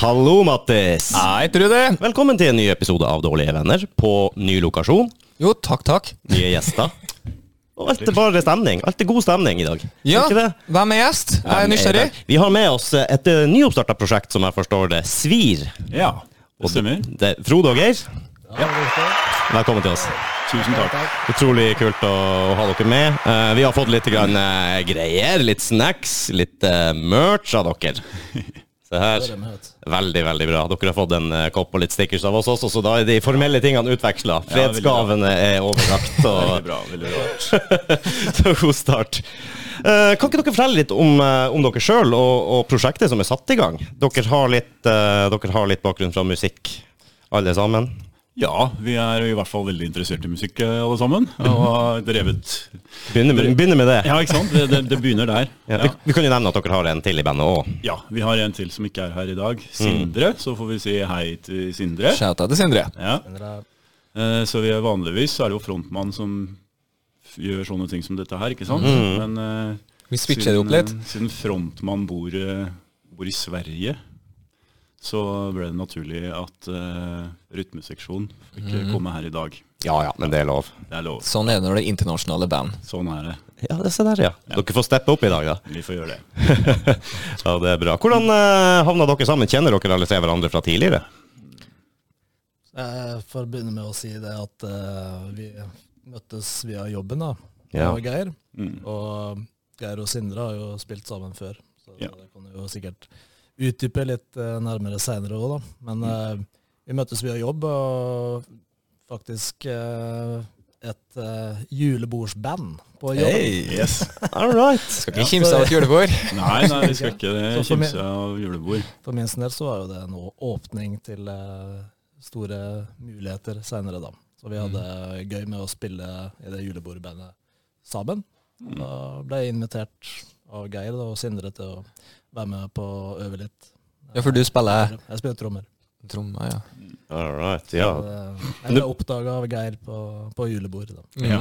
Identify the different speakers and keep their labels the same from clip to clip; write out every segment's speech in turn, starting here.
Speaker 1: Hallo, Mattis.
Speaker 2: Nei, Trude.
Speaker 1: Velkommen til en ny episode av Dårlige venner på ny lokasjon.
Speaker 2: Jo, takk, takk.
Speaker 1: Nye gjester. Og alt er bare stemning. Alt er god stemning i dag.
Speaker 2: Ja,
Speaker 1: Er ikke det? eh,
Speaker 2: hvem er gjest? Jeg er nysgjerrig.
Speaker 1: Vi har med oss et eh, nyoppstarta prosjekt som jeg forstår det, Svir.
Speaker 3: Ja, det
Speaker 1: Og
Speaker 3: stemmer.
Speaker 1: Det er Frode og Geir, velkommen til oss.
Speaker 3: Tusen takk.
Speaker 1: Utrolig kult å ha dere med. Eh, Vi har fått litt grann, eh, greier, litt snacks, litt eh, merch av dere. Se her. Veldig, veldig bra. Dere har fått en eh, kopp og litt stickers av oss også, så da er de formelle tingene utveksla.
Speaker 3: Ja, veldig bra.
Speaker 1: Fredsgavene er overrakt.
Speaker 3: Veldig
Speaker 1: Og
Speaker 3: bra. veldig bra.
Speaker 1: så god start. Eh, Kan ikke dere fortelle litt om, eh, om dere sjøl og, og prosjektet som er satt i gang? Dere har litt, eh, dere har litt bakgrunn fra musikk, alle sammen.
Speaker 3: Ja, vi er i hvert fall veldig interessert i musikk, eh, alle sammen. Og har drevet
Speaker 1: Begynner med, begynner med det.
Speaker 3: Ja, ikke sant? Det, det, det begynner der.
Speaker 1: Ja, vi,
Speaker 3: Ja.
Speaker 1: vi kan jo nevne at dere har en til i bandet òg.
Speaker 3: ja, Vi har en til som ikke er her i dag. Sindre. Så får vi si hei til Sindre.
Speaker 2: Shout out til Sindre.
Speaker 3: Ja. Eh, Så vi er vanligvis så er det jo frontmann som f- gjør sånne ting som dette her, ikke sant? Men eh,
Speaker 2: Vi switcher det opp litt.
Speaker 3: eh, Siden frontmann bor, eh, bor i Sverige, så ble det naturlig at uh, rytmeseksjon fikk
Speaker 2: Mhm.
Speaker 3: eh, komme her i dag.
Speaker 1: Ja ja, men det er lov.
Speaker 3: Det er lov.
Speaker 2: Sånn er det når det er internasjonale band.
Speaker 3: Sånn er det.
Speaker 1: Ja, det se der, ja. Dere får steppe opp i dag, da.
Speaker 3: Vi får gjøre det.
Speaker 1: Ja, det er bra. Hvordan eh, havna dere sammen? Kjenner dere alle tre hverandre fra tidligere?
Speaker 4: Jeg får begynne med Eh, å si det at eh, vi møttes via jobben, da.
Speaker 1: Ja.
Speaker 4: Og Geir.
Speaker 3: Mm.
Speaker 4: Og Geir og Sindre har jo spilt sammen før, så
Speaker 3: Ja.
Speaker 4: det kan du jo sikkert utdype litt eh, nærmere seinere òg, da.
Speaker 3: Mm.
Speaker 4: Men eh, vi møttes via jobb, og faktisk eh, et eh, julebordsband på jobb.
Speaker 3: Yes.
Speaker 1: All right.
Speaker 2: Skal ikke kimse av et julebord.
Speaker 3: Nei, nei, vi skal ikke
Speaker 4: Så for meg-
Speaker 3: kimse av julebord.
Speaker 4: For min sin del så var jo det en å- åpning til eh, store muligheter seinere, da. Så vi hadde gøy med å spille i det julebordbandet sammen. Da ble jeg invitert av Geir da, og Sindre til å være med på å øve litt.
Speaker 2: Ja, for du spiller
Speaker 4: Jeg spiller trommer.
Speaker 2: trommer, ja.
Speaker 1: All right, ja.
Speaker 4: Eh, Jeg ble oppdaga av Geir på, på julebord. Da.
Speaker 2: Mm.
Speaker 3: Ja.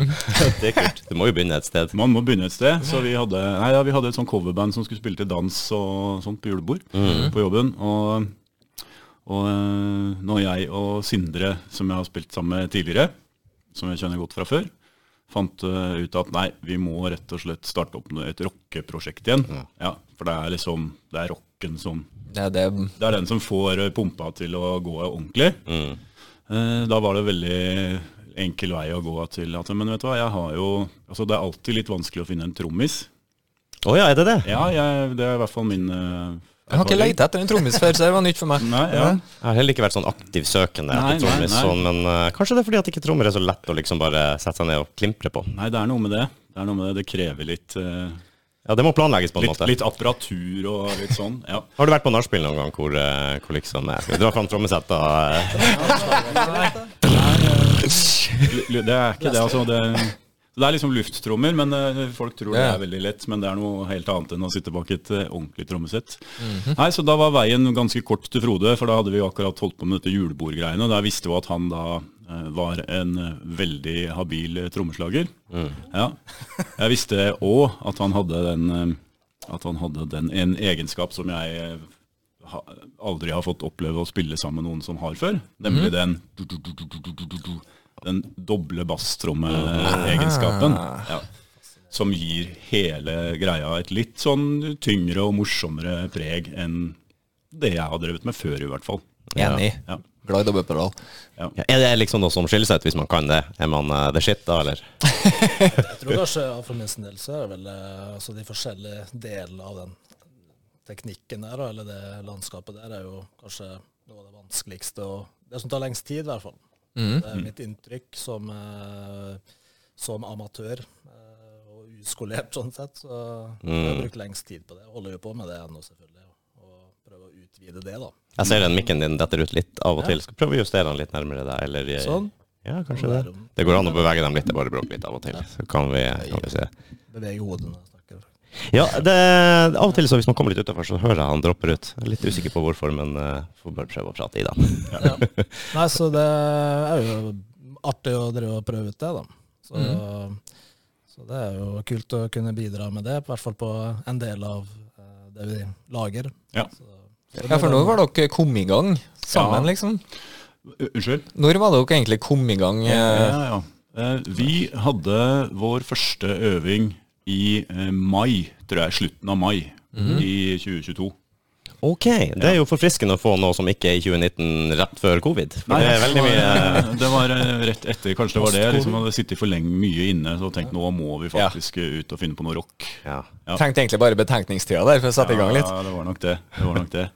Speaker 1: Det er kult. Du må jo begynne et sted.
Speaker 3: Man må begynne et sted. Så vi hadde, nei, ja, vi hadde et sånt coverband som skulle spille til dans og sånt på julebord på jobben. Og, og eh, når jeg og Sindre, som jeg har spilt sammen med tidligere, som jeg kjenner godt fra før, fant eh, ut at nei, vi må rett og slett starte opp noe- et rockeprosjekt igjen. Ja, for det er liksom, det er rocken som
Speaker 2: Det er det
Speaker 3: Det er den som får eh, pumpa til å gå ordentlig.
Speaker 1: Mm.
Speaker 3: Eh, Da var det veldig enkel vei å gå til at Men vet du hva, jeg har jo Altså, det er alltid litt vanskelig å finne en trommis.
Speaker 1: Å ja, er det det?
Speaker 3: Ja, jeg, det er i hvert fall min eh,
Speaker 2: Jeg har ikke
Speaker 3: erfaring.
Speaker 2: leita etter en trommis før, så det var nytt for meg.
Speaker 3: Nei, ja.
Speaker 1: Jeg har heller ikke vært sånn aktiv søkende
Speaker 3: Nei,
Speaker 1: etter
Speaker 3: nei,
Speaker 1: trommis,
Speaker 3: nei.
Speaker 1: sånn, men eh, kanskje det er fordi at ikke trommer er så lett å liksom bare sette seg ned og klimpre på.
Speaker 3: Nei, det er noe med det. Det er noe med det. Det krever litt, eh,
Speaker 1: Ja, det må planlegges på en
Speaker 3: litt,
Speaker 1: måte.
Speaker 3: litt apparatur og litt sånn. Ja.
Speaker 1: Har du vært på nachspiel noen gang hvor, eh, hvor liksom eh, Skal vi dra fram trommesettet og eh,
Speaker 3: L- l- Det er ikke det, altså. Det, det er liksom lufttrommer, men eh, folk tror det
Speaker 2: Ja.
Speaker 3: er veldig lett. Men det er noe helt annet enn å sitte bak et eh, ordentlig trommesett. Nei, Så da var veien ganske kort til Frode, for da hadde vi jo akkurat holdt på med dette julebordgreiene. og Der visste vi at han da eh, var en eh, veldig habil eh, trommeslager. Ja. Jeg visste òg at han hadde den eh, At han hadde den en egenskap som jeg eh, ha, aldri har fått oppleve å spille sammen med noen som har før.
Speaker 2: Mhm.
Speaker 3: Nemlig den du, du, du, du, du, du, du, du, Den doble basstrommeegenskapen.
Speaker 2: Ah.
Speaker 3: Ja. Som gir hele greia et litt sånn tyngre og morsommere preg enn det jeg har drevet med før, i hvert fall.
Speaker 2: Enig.
Speaker 3: Ja.
Speaker 2: Glad i dobbeltpedal.
Speaker 3: Ja.
Speaker 1: ja, Er det liksom noe som skiller seg ut, hvis man kan det? Er man eh, the shit da, eller?
Speaker 4: Jeg tror kanskje ja, for min sin del så er det vel eh, altså, de forskjellige delene av den teknikken der, da, eller det landskapet der, er jo kanskje noe av det vanskeligste og det som tar lengst tid, i hvert fall.
Speaker 1: Mm.
Speaker 4: Det er mitt inntrykk som, eh, som amatør eh, og uskolert, sånn sett. Så jeg
Speaker 1: Mm.
Speaker 4: har brukt lengst tid på det. Holder jo på med det ennå, selvfølgelig. Og prøver å utvide det, da.
Speaker 1: Jeg ser den mikken din detter ut litt av og til. Skal prøve å justere den litt nærmere deg. Eller, eh,
Speaker 4: Sånn.
Speaker 1: Ja, kanskje det. Det går an å bevege dem litt. Det bare bråker litt av og til. Så kan vi, kan vi se.
Speaker 4: Beveger hodet når jeg snakker.
Speaker 1: Ja, det, av og til så hvis man kommer litt utenfor, så hører jeg han dropper ut. Jeg er litt usikker på hvorfor, men eh, får bare prøve å prate i det.
Speaker 4: Ja. Nei, så det er jo artig å drive og prøve ut det, da. Så, Mhm. så det er jo kult å kunne bidra med det, i hvert fall på en del av eh, det vi lager.
Speaker 3: Ja.
Speaker 4: Så, så det
Speaker 2: Ja, for
Speaker 4: blir
Speaker 2: nå
Speaker 4: bra.
Speaker 2: var dere kommet i gang sammen,
Speaker 3: Ja.
Speaker 2: liksom.
Speaker 3: U- Unnskyld?
Speaker 2: Når var dere egentlig kommet i gang? eh,
Speaker 3: Ja, ja. Eh, Vi hadde vår første øving i eh, mai, tror jeg. Slutten av mai
Speaker 2: Mhm.
Speaker 3: i 2022.
Speaker 1: Ok, det er jo forfriskende å få noe som ikke er i 2019 rett før covid. For det er veldig mye
Speaker 3: var- Det var eh, rett etter, kanskje det var det. Jeg liksom hadde sittet for lenge mye inne og tenkt nå må vi faktisk eh, ut og finne på noe rock.
Speaker 1: ja.
Speaker 3: Ja.
Speaker 2: Eh, Tenkte egentlig bare betenkningstida der, for å sette i gang litt.
Speaker 3: Ja, det var nok det. det, var nok det.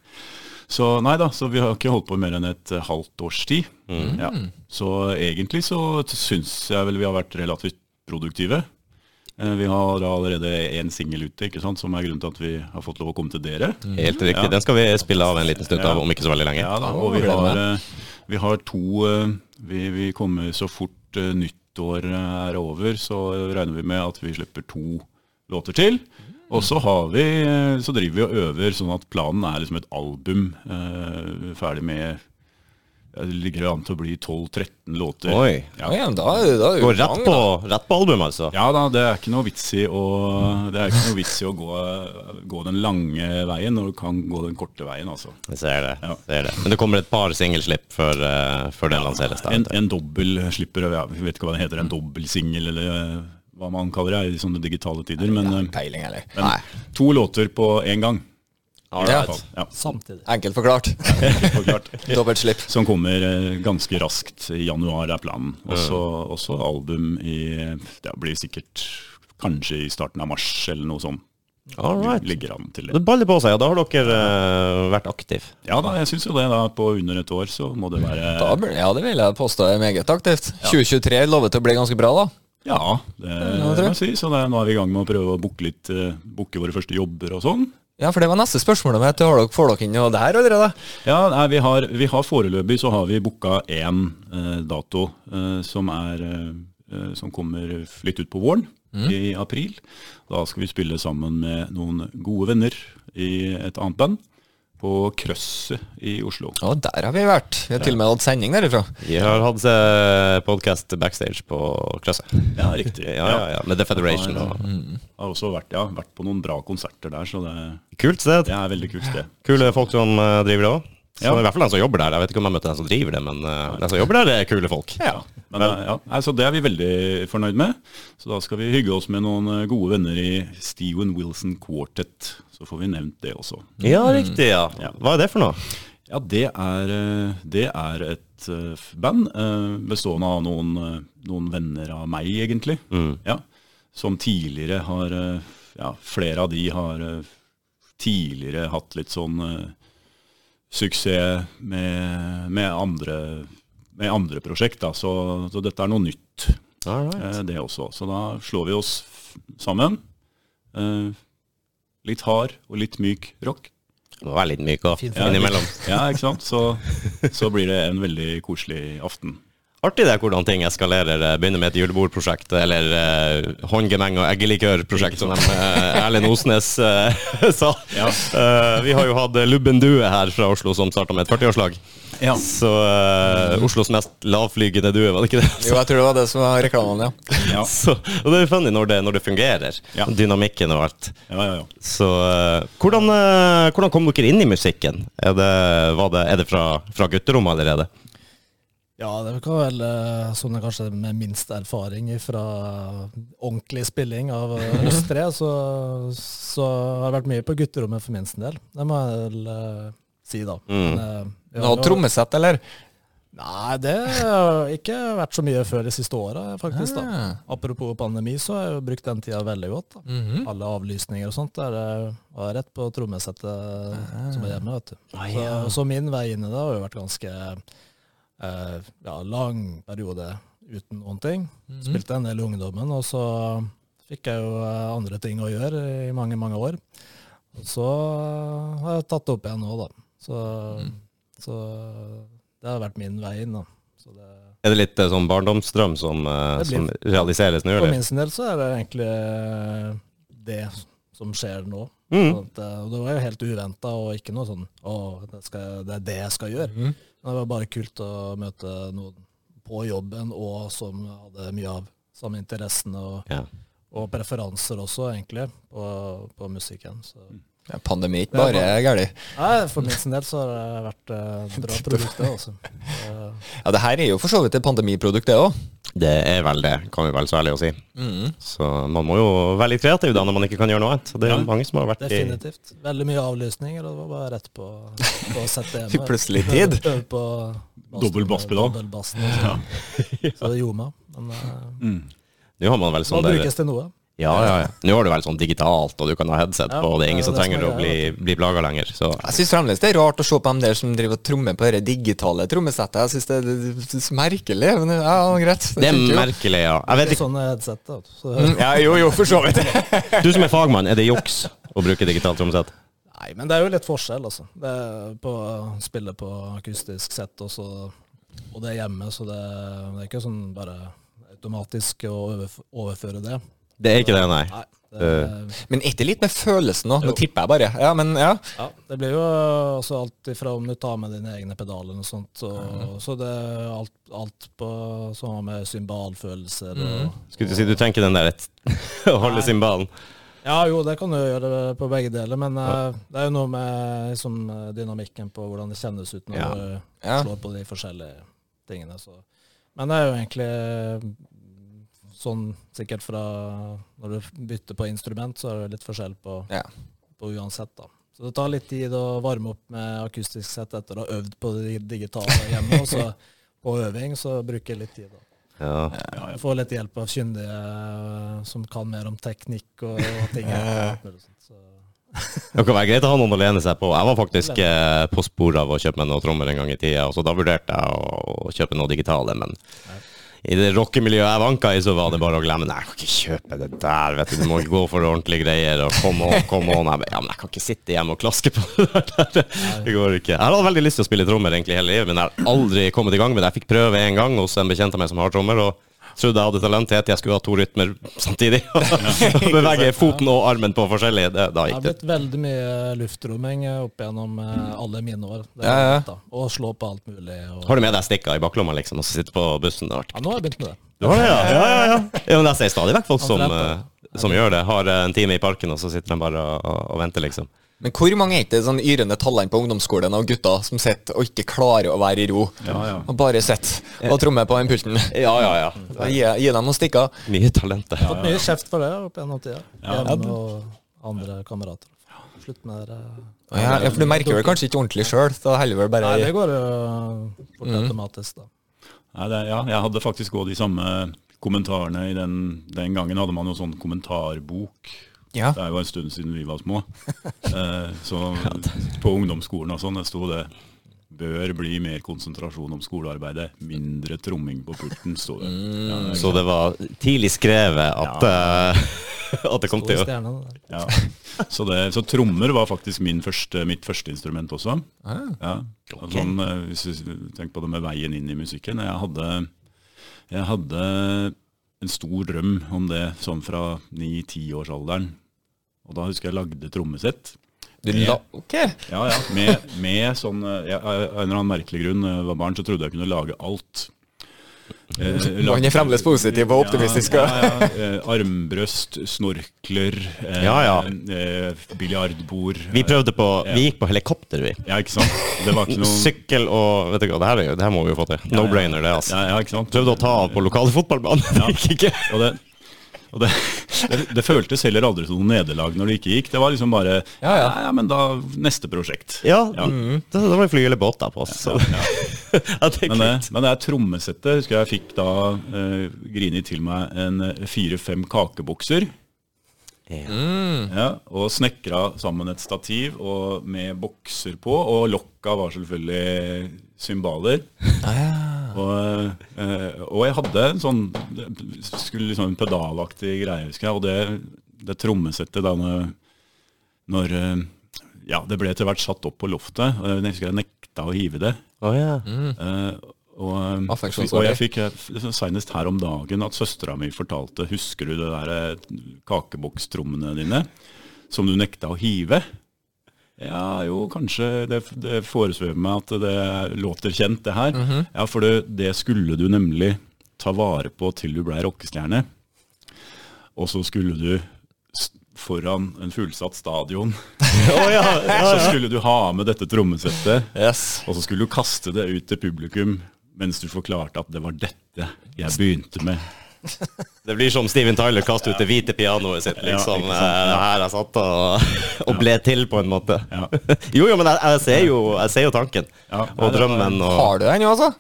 Speaker 3: Så nei da, så vi har ikke holdt på mer enn et eh, halvt års tid.
Speaker 1: Mm.
Speaker 3: Ja. Så egentlig så syns jeg vel vi har vært relativt produktive. Eh, Vi har da allerede én singel ute, ikke sant, som er grunnen til at vi har fått lov å komme til dere.
Speaker 1: Helt riktig.
Speaker 3: Ja.
Speaker 1: Den skal vi spille av en liten stund av
Speaker 3: Ja.
Speaker 1: om ikke så veldig lenge.
Speaker 3: Ja da, og vi
Speaker 2: gleder
Speaker 3: har, eh, vi har to eh, vi, vi kommer så fort eh, nyttår eh, er over, så regner vi med at vi slipper to låter til. Og så, har vi, eh, så driver vi og øver, sånn at planen er liksom et album eh, ferdig med ja, Det ligger an til å bli 12-13 låter.
Speaker 1: Oi.
Speaker 3: Ja.
Speaker 2: Ja, men da, er det- da er det jo
Speaker 1: Går rett
Speaker 2: gang,
Speaker 1: på,
Speaker 2: da.
Speaker 1: rett på album, altså.
Speaker 3: Ja da, det er ikke noe vits i å, det er ikke noe vits i å gå, gå den lange veien når du kan gå den korte veien, altså.
Speaker 1: Jeg ser det.
Speaker 3: Ja.
Speaker 1: ser det. Men det kommer et par singelslipp før, eh, før den lanseres. da.
Speaker 3: En, en dobbel slipper, jeg vet ikke hva det heter, en dobbeltsingel eller eh, hva man kaller det i sånne digitale tider. Men,
Speaker 2: Nei,
Speaker 3: eh,
Speaker 2: Peiling, eller? Nei.
Speaker 3: men to låter på én gang.
Speaker 1: All
Speaker 2: Ja.
Speaker 1: right.
Speaker 3: Ja,
Speaker 4: Samtidig.
Speaker 2: Enkelt forklart.
Speaker 3: forklart.
Speaker 2: Dobbelt slipp.
Speaker 3: Som kommer eh, ganske raskt. I januar er planen. Og så- Og så album i Det blir sikkert kanskje i starten av mars eller noe sånt.
Speaker 1: All right.
Speaker 3: Ligger an til det.
Speaker 1: Det baller på seg, og da har dere eh, vært aktiv.
Speaker 3: Ja da, jeg syns jo det. da På under et år så må det være
Speaker 2: Da, blir- ja, det vil jeg påstå er meget aktivt. 2023 lover til å bli ganske bra, da.
Speaker 3: Ja, det må
Speaker 2: tror jeg.
Speaker 3: jeg si. Så det, er- nå er vi i gang med å prøve å booke litt eh, Booke våre første jobber og sånn.
Speaker 2: Ja, for det var neste spørsmål om etter. Har dere, får dere inn noe der allerede?
Speaker 3: Ja, nei, vi, har, vi har foreløpig så har vi booka én eh, dato eh, som, er, eh, eh, som kommer litt ut på våren, i april. Da skal vi spille sammen med noen gode venner i et annet band på Krøsset i Oslo.
Speaker 2: Ja, der har vi vært. Vi har til og med hatt sending derifra.
Speaker 1: Vi har hatt uh, podkast backstage på Krøsset.
Speaker 3: Ja, riktig.
Speaker 1: Ja, ja, ja. Med The Federation og
Speaker 3: Har også vært, ja, vært på noen bra konserter der, så det,
Speaker 1: Kult sted.
Speaker 3: det er veldig kult, det.
Speaker 1: Kule folk som eh, driver det òg.
Speaker 3: Ja.
Speaker 1: I hvert fall den som jobber der. Jeg vet ikke om jeg møtte den som driver det, men eh, den som jobber der, er kule folk.
Speaker 3: Ja. Men, eh, ja, nei, så det er vi veldig fornøyd med. Så da skal vi hygge oss med noen eh, gode venner i Steven Wilson Quartet. Så får vi nevnt det også.
Speaker 1: Ja, riktig. ja.
Speaker 3: Mm.
Speaker 1: Hva er det for noe?
Speaker 3: Ja, det er, eh, det er et eh, f- band eh, bestående av noen, eh, noen venner av meg, egentlig.
Speaker 1: Mm.
Speaker 3: Ja, som tidligere har eh, Ja, flere av de har eh, tidligere hatt litt sånn eh, suksess med, med, andre, med andre prosjekt, da. Så, så dette er noe nytt,
Speaker 1: All right.
Speaker 3: eh, det også. Så da slår vi oss f- sammen. Eh, litt hard og litt myk rock.
Speaker 1: Må være litt myk og
Speaker 4: Fin
Speaker 1: ja, innimellom.
Speaker 3: Ja, ikke sant? Så, så blir det en veldig koselig aften.
Speaker 1: Artig det er hvordan ting eskalerer. eh, Begynner med et julebordprosjekt, eller eh, håndgemeng og eggelikørprosjekt, som de, eh, Erlend Osnes eh, sa.
Speaker 3: Ja.
Speaker 1: Eh, vi har jo hatt eh, Lubben Due her fra Oslo, som starta med et 40-årslag.
Speaker 3: Ja.
Speaker 1: Så eh, Oslos mest lavflygende due, var det ikke det?
Speaker 2: Jo, jeg tror det var det som var reklamen, ja.
Speaker 3: Ja,
Speaker 1: Så, og det er jo funny når det, når det fungerer.
Speaker 3: Ja.
Speaker 1: Dynamikken og alt.
Speaker 3: ja, ja. ja.
Speaker 1: Så eh, hvordan, eh, hvordan kom dere inn i musikken? Er det, var det, er det fra, fra gutterommet allerede?
Speaker 4: Ja, det kan vel eh, sånn er kanskje med minst erfaring fra ordentlig spilling av eh, oss tre, så, så har det vært mye på gutterommet for minst en del. Det må jeg vel eh, si, da. Men, eh, vi
Speaker 2: Du
Speaker 4: har
Speaker 2: har
Speaker 4: jo-
Speaker 2: trommesett, eller?
Speaker 4: Nei, det har ikke vært så mye før de siste åra, faktisk. da. Apropos pandemi, så har jeg jo brukt den tida veldig godt. da.
Speaker 2: Mhm.
Speaker 4: Alle avlysninger og sånt der eh, var jeg rett på trommesettet som var hjemme. vet du. Så, så min vei inn i det har jo vært ganske eh, ja, lang periode uten noen ting. Spilte en del i ungdommen, og så Fikk jeg jo eh, andre ting å gjøre i mange, mange år. Og så eh, har jeg tatt det opp igjen nå, da. Så, så det har vært min vei inn, da. Så det,
Speaker 1: Er det litt eh, sånn barndomsdrøm som, eh,
Speaker 4: Det blir-
Speaker 1: som realiseres nå,
Speaker 4: for
Speaker 1: eller?
Speaker 4: min sin del så er det egentlig eh, det som skjer nå.
Speaker 1: Mm.
Speaker 4: Sånn at, eh, og det var jo helt uventa, og ikke noe sånn å, det, skal, det er det jeg skal gjøre.
Speaker 2: Mhm.
Speaker 4: Men det var bare kult å møte noen på jobben og som hadde mye av samme interessene og,
Speaker 1: Ja.
Speaker 4: og preferanser også, egentlig, på, på musikken. Så.
Speaker 2: Ja, pandemi er ikke
Speaker 4: Det er
Speaker 2: bare galt.
Speaker 4: Nei, for min sin del så har det vært eh, et bra produkt, det også. Eh,
Speaker 2: Ja, det her er jo for så vidt et pandemiprodukt, det òg.
Speaker 1: Det er vel det, kan vi vel så ærlig å si.
Speaker 2: Mm.
Speaker 1: Så man må jo være litt kreativ da når man ikke kan gjøre noe annet. Det er jo
Speaker 3: Ja.
Speaker 1: mange som har vært i
Speaker 4: Definitivt. Veldig mye avlysninger, og det var bare rett på, på å sette hjemme.
Speaker 2: Plutselig tid.
Speaker 4: Øve på bassen,
Speaker 3: Dobbel basspedal.
Speaker 4: dobbel bassen og sånn. Så det gjorde meg. Men eh,
Speaker 1: Nå har man vel
Speaker 4: må
Speaker 1: sånn der
Speaker 4: brukes til noe.
Speaker 1: Ja, ja, ja. Nå har du vel sånn digitalt, og du kan ha headset
Speaker 4: Ja,
Speaker 1: på, og det er ingen
Speaker 4: det er
Speaker 1: som
Speaker 4: det som
Speaker 1: trenger
Speaker 4: er
Speaker 1: å bli, bli plaga lenger. Så
Speaker 2: Jeg syns fremdeles det er rart å se på dem der som driver og trommer på det digitale trommesettet. Jeg syns det, det, det er så merkelig. Men ja, greit.
Speaker 1: det er
Speaker 2: funker jo.
Speaker 1: merkelig, ja. Jeg vet
Speaker 4: Det er
Speaker 1: ikke,
Speaker 4: sånn headset, da. Så,
Speaker 2: Mm, Ja, jo, jo, for så vidt.
Speaker 1: Du som er fagmann, er det juks å bruke digitalt tromsett?
Speaker 4: nei, men det er jo litt forskjell, altså. Det er på å spille på akustisk sett, og, så, og det er hjemme, så det, det er ikke sånn bare automatisk å overf- overføre det.
Speaker 1: Det er ikke det, nei.
Speaker 4: Nei. Det,
Speaker 2: Men er det litt med følelsen nå? Nå tipper jeg bare. Ja, men ja.
Speaker 4: Ja, det blir jo også alt ifra om du tar med dine egne pedaler og sånt, og, så det er alt, alt på, som har med symbalfølelser og
Speaker 1: Skulle du si du trenger ikke den der et, å holde
Speaker 4: Nei.
Speaker 1: cymbalen?
Speaker 4: Ja jo, det kan du gjøre på begge deler, men eh, det er jo noe med liksom, dynamikken på hvordan det kjennes ut når
Speaker 1: Ja.
Speaker 4: du
Speaker 2: Ja.
Speaker 4: slår på de forskjellige tingene. Så. Men det er jo egentlig sånn sikkert fra når du bytter på instrument, så er det litt forskjell på
Speaker 2: ja.
Speaker 4: på uansett, da. Så det tar litt tid å varme opp med akustisk sett etter å ha øvd på det digitale hjemme. Og så på øving så bruker jeg litt tid, da.
Speaker 1: Ja.
Speaker 4: Jeg får litt hjelp av kyndige eh, som kan mer om teknikk og, og ting. Så,
Speaker 1: Det kan være greit å ha noen å lene seg på. Jeg var faktisk eh, på sporet av å kjøpe meg noen trommer en gang i tida, og så da vurderte jeg å, å kjøpe noe digitale, men i det rockemiljøet jeg vanka i, så var det bare å glemme. Nei, jeg kan ikke kjøpe det der, vet du. Du må gå for ordentlige greier. Og come on, come on. Jeg bare, ja, men jeg kan ikke sitte hjemme og klaske på det der. Det går ikke. Jeg hadde veldig lyst til å spille trommer egentlig hele livet, men jeg har aldri kommet i gang med det. Jeg fikk prøve en gang hos en bekjent av meg som har trommer, og trodde jeg hadde talent til at jeg skulle ha to rytmer samtidig. Og bevege foten og armen på forskjellig. Det, da
Speaker 4: det
Speaker 1: gikk
Speaker 4: har
Speaker 1: det
Speaker 4: blitt veldig mye luftromming eh, opp gjennom eh, alle mine år. Det er
Speaker 2: Ja, ja.
Speaker 4: godt, da. Og slå på alt mulig. Og,
Speaker 1: Har du med deg stikka i baklomma, liksom, og så sitter på bussen og
Speaker 4: ja, nå har jeg begynt med det.
Speaker 1: Du har det, ja? Ja, ja, ja. ja men jeg ser stadig vekk folk som,
Speaker 4: Han treffer.
Speaker 1: eh, som gjør det. Har eh, en time i parken, og så sitter de bare og, og- og venter, liksom.
Speaker 2: Men hvor mange er det sånn yrende tallene på ungdomsskolen av gutter som sitter og ikke klarer å være i ro?
Speaker 3: Ja, ja.
Speaker 2: Og bare sitter og trommer på den pulten?
Speaker 1: Ja, ja, ja.
Speaker 2: Da Gi, gi dem noen stikker.
Speaker 1: Mye talent.
Speaker 4: Fått mye kjeft for det opp gjennom tida.
Speaker 3: Ja.
Speaker 4: Hjemme og andre kamerater. Slutt med det.
Speaker 2: Å Ja, ja, for du merker vel kanskje ikke ordentlig sjøl, da heller vel bare
Speaker 4: Nei, det går jo fort automatisk, da.
Speaker 3: Nei, det, ja, jeg hadde faktisk òg de samme kommentarene i den, den gangen. Hadde man jo sånn kommentarbok.
Speaker 2: Ja.
Speaker 3: Det er jo en stund siden vi var små. Eh, så på ungdomsskolen og sånn det sto det Bør bli mer konsentrasjon om skolearbeidet. Mindre tromming på pulten, sto det.
Speaker 2: Mm,
Speaker 3: Ja, det
Speaker 1: Mm. Så det var tidlig skrevet at, eh, at det kom
Speaker 4: Store
Speaker 1: til å
Speaker 4: stjerner, det der.
Speaker 3: Ja. Så, det, så trommer var faktisk min første, mitt første instrument også.
Speaker 4: Ah.
Speaker 3: Ja. Og Sånn, eh, hvis du tenker på det med veien inn i musikken. Jeg hadde, jeg hadde en stor drøm om det sånn fra 9-10-årsalderen. Og da husker jeg lagde trommesett.
Speaker 2: Du la Ok.
Speaker 3: Ja, ja. Med, med sånn eh, jeg, Av en eller annen merkelig grunn, da jeg var barn, så trodde jeg kunne lage alt. Eh,
Speaker 2: Han
Speaker 3: lagde-
Speaker 2: er fremdeles positiv og optimistisk.
Speaker 3: ja,
Speaker 2: og-
Speaker 3: ja, ja. Eh, Armbrøst, snorkler, eh,
Speaker 1: Ja, ja.
Speaker 3: eh, biljardbord.
Speaker 1: Vi prøvde på Vi gikk på helikopter, vi.
Speaker 3: Ja, ikke sant? Det var ikke noe
Speaker 1: Sykkel og Vet du hva, det her, er jo, det her må vi jo få til. No-brainer, det, altså.
Speaker 3: Ja, ja, ikke sant?
Speaker 1: Prøvde å ta av på lokale fotballbanen. Det gikk ikke.
Speaker 3: Og det, og det, det, det føltes heller aldri som noe nederlag når det ikke gikk. Det var liksom bare
Speaker 2: Ja, ja.
Speaker 3: ja, men da neste prosjekt.
Speaker 1: Ja, Da, da må vi fly eller båt, da, på oss. Så. Ja, det er
Speaker 3: Men det,
Speaker 1: kult.
Speaker 3: men det er trommesettet. Husker jeg jeg fikk da eh, Grini til meg en eh, fire-fem kakebokser.
Speaker 1: Ja.
Speaker 2: Mm.
Speaker 3: Ja, og snekra sammen et stativ og med bokser på. Og lokka var selvfølgelig cymbaler.
Speaker 2: Ah, ja.
Speaker 3: Og, eh, og jeg hadde en sånn skulle liksom en pedalaktig greie, husker jeg. Og det, det trommesettet da når, når eh, Ja, det ble etter hvert satt opp på loftet. og Jeg husker jeg nekta å hive det.
Speaker 1: Å ja.
Speaker 2: Mm,
Speaker 3: Eh, og,
Speaker 2: Affeksjonsverdi.
Speaker 3: og jeg fikk eh, senest her om dagen at søstera mi fortalte Husker du det der eh, kakebokstrommene dine som du nekta å hive? Ja, jo, kanskje. Det, det foresvever meg at det låter kjent, det her.
Speaker 2: mm-hmm.
Speaker 3: Ja, for det, det skulle du nemlig ta vare på til du blei rockestjerne. Og så skulle du s- foran en fullsatt stadion
Speaker 1: Mm.
Speaker 3: Så skulle du ha med dette trommesettet.
Speaker 2: Yes.
Speaker 3: Og så skulle du kaste det ut til publikum mens du forklarte at det var dette jeg begynte med.
Speaker 1: Det blir som Steven Tyler kaster ut det hvite pianoet sitt, liksom.
Speaker 3: Ja, ikke sant.
Speaker 1: eh, det her jeg satt og, og ble til, på en måte.
Speaker 3: Ja.
Speaker 1: Jo, jo, men jeg, jeg, ser jo, jeg ser jo tanken.
Speaker 3: Ja, nei, det
Speaker 1: og
Speaker 3: var-
Speaker 1: drømmen og
Speaker 2: Har du den jo, altså?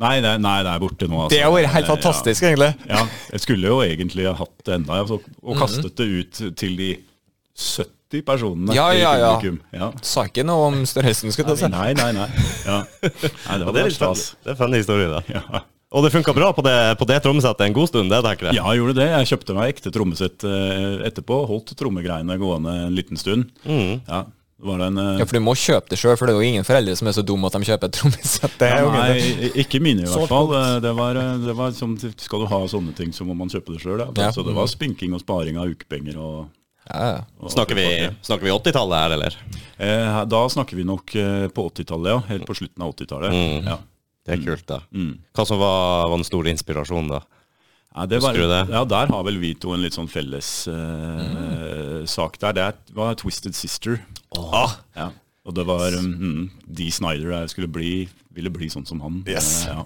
Speaker 3: Nei, det, nei, det er borte nå. Altså.
Speaker 2: Det har vært helt
Speaker 3: Ja.
Speaker 2: fantastisk, egentlig.
Speaker 3: Ja, jeg skulle jo egentlig ha hatt det enda, altså, og
Speaker 2: Mhm.
Speaker 3: kastet det ut til de 70 personene
Speaker 2: Ja, ja, ja. Altså.
Speaker 3: i publikum. Ja.
Speaker 2: Sa ikke noe om størrelsen, skulle jeg til å si.
Speaker 3: Nei, nei, nei. Ja. nei det
Speaker 1: Ja,
Speaker 3: var altså.
Speaker 1: det er
Speaker 3: vært
Speaker 1: litt funny.
Speaker 3: stas.
Speaker 1: Det er funny historie, da.
Speaker 3: Ja.
Speaker 1: Og det funka bra på det, på det trommesettet en god stund, det tenker jeg.
Speaker 3: Ja, jeg gjorde det. Jeg kjøpte meg ekte trommesett eh, etterpå. Holdt trommegreiene gående en liten stund. Ja, var det en... eh,
Speaker 2: Mhm. Ja, for du må kjøpe det sjøl, for det er jo ingen foreldre som er så dumme at de kjøper et trommesett. Det er jo ikke det.
Speaker 3: Nei, ikke mine i
Speaker 4: Sort
Speaker 3: hvert fall. Eh, Det var, det var som, Skal du ha sånne ting, så må man kjøpe det sjøl.
Speaker 2: Ja.
Speaker 3: Så det var spinking og sparing av ukepenger. Og,
Speaker 2: Ja, ja.
Speaker 3: og
Speaker 1: Snakker vi, snakker vi 80-tallet her, eller?
Speaker 3: Eh, Da snakker vi nok eh, på 80-tallet, ja. Helt på slutten av 80-tallet.
Speaker 1: Mm.
Speaker 3: Ja.
Speaker 1: Det er kult, da.
Speaker 3: Mm.
Speaker 1: Hva som var, var den store inspirasjonen, da?
Speaker 3: Ja, det
Speaker 1: Husker du det?
Speaker 3: Ja, Der har vel vi to en litt sånn felles
Speaker 1: Mm.
Speaker 3: eh, sak der. Det var Twisted Sister.
Speaker 1: Ah,
Speaker 3: Ja. Og det var um, mm, Dee Snyder jeg skulle bli, ville bli sånn som han.
Speaker 1: Yes.
Speaker 3: Eh, ja.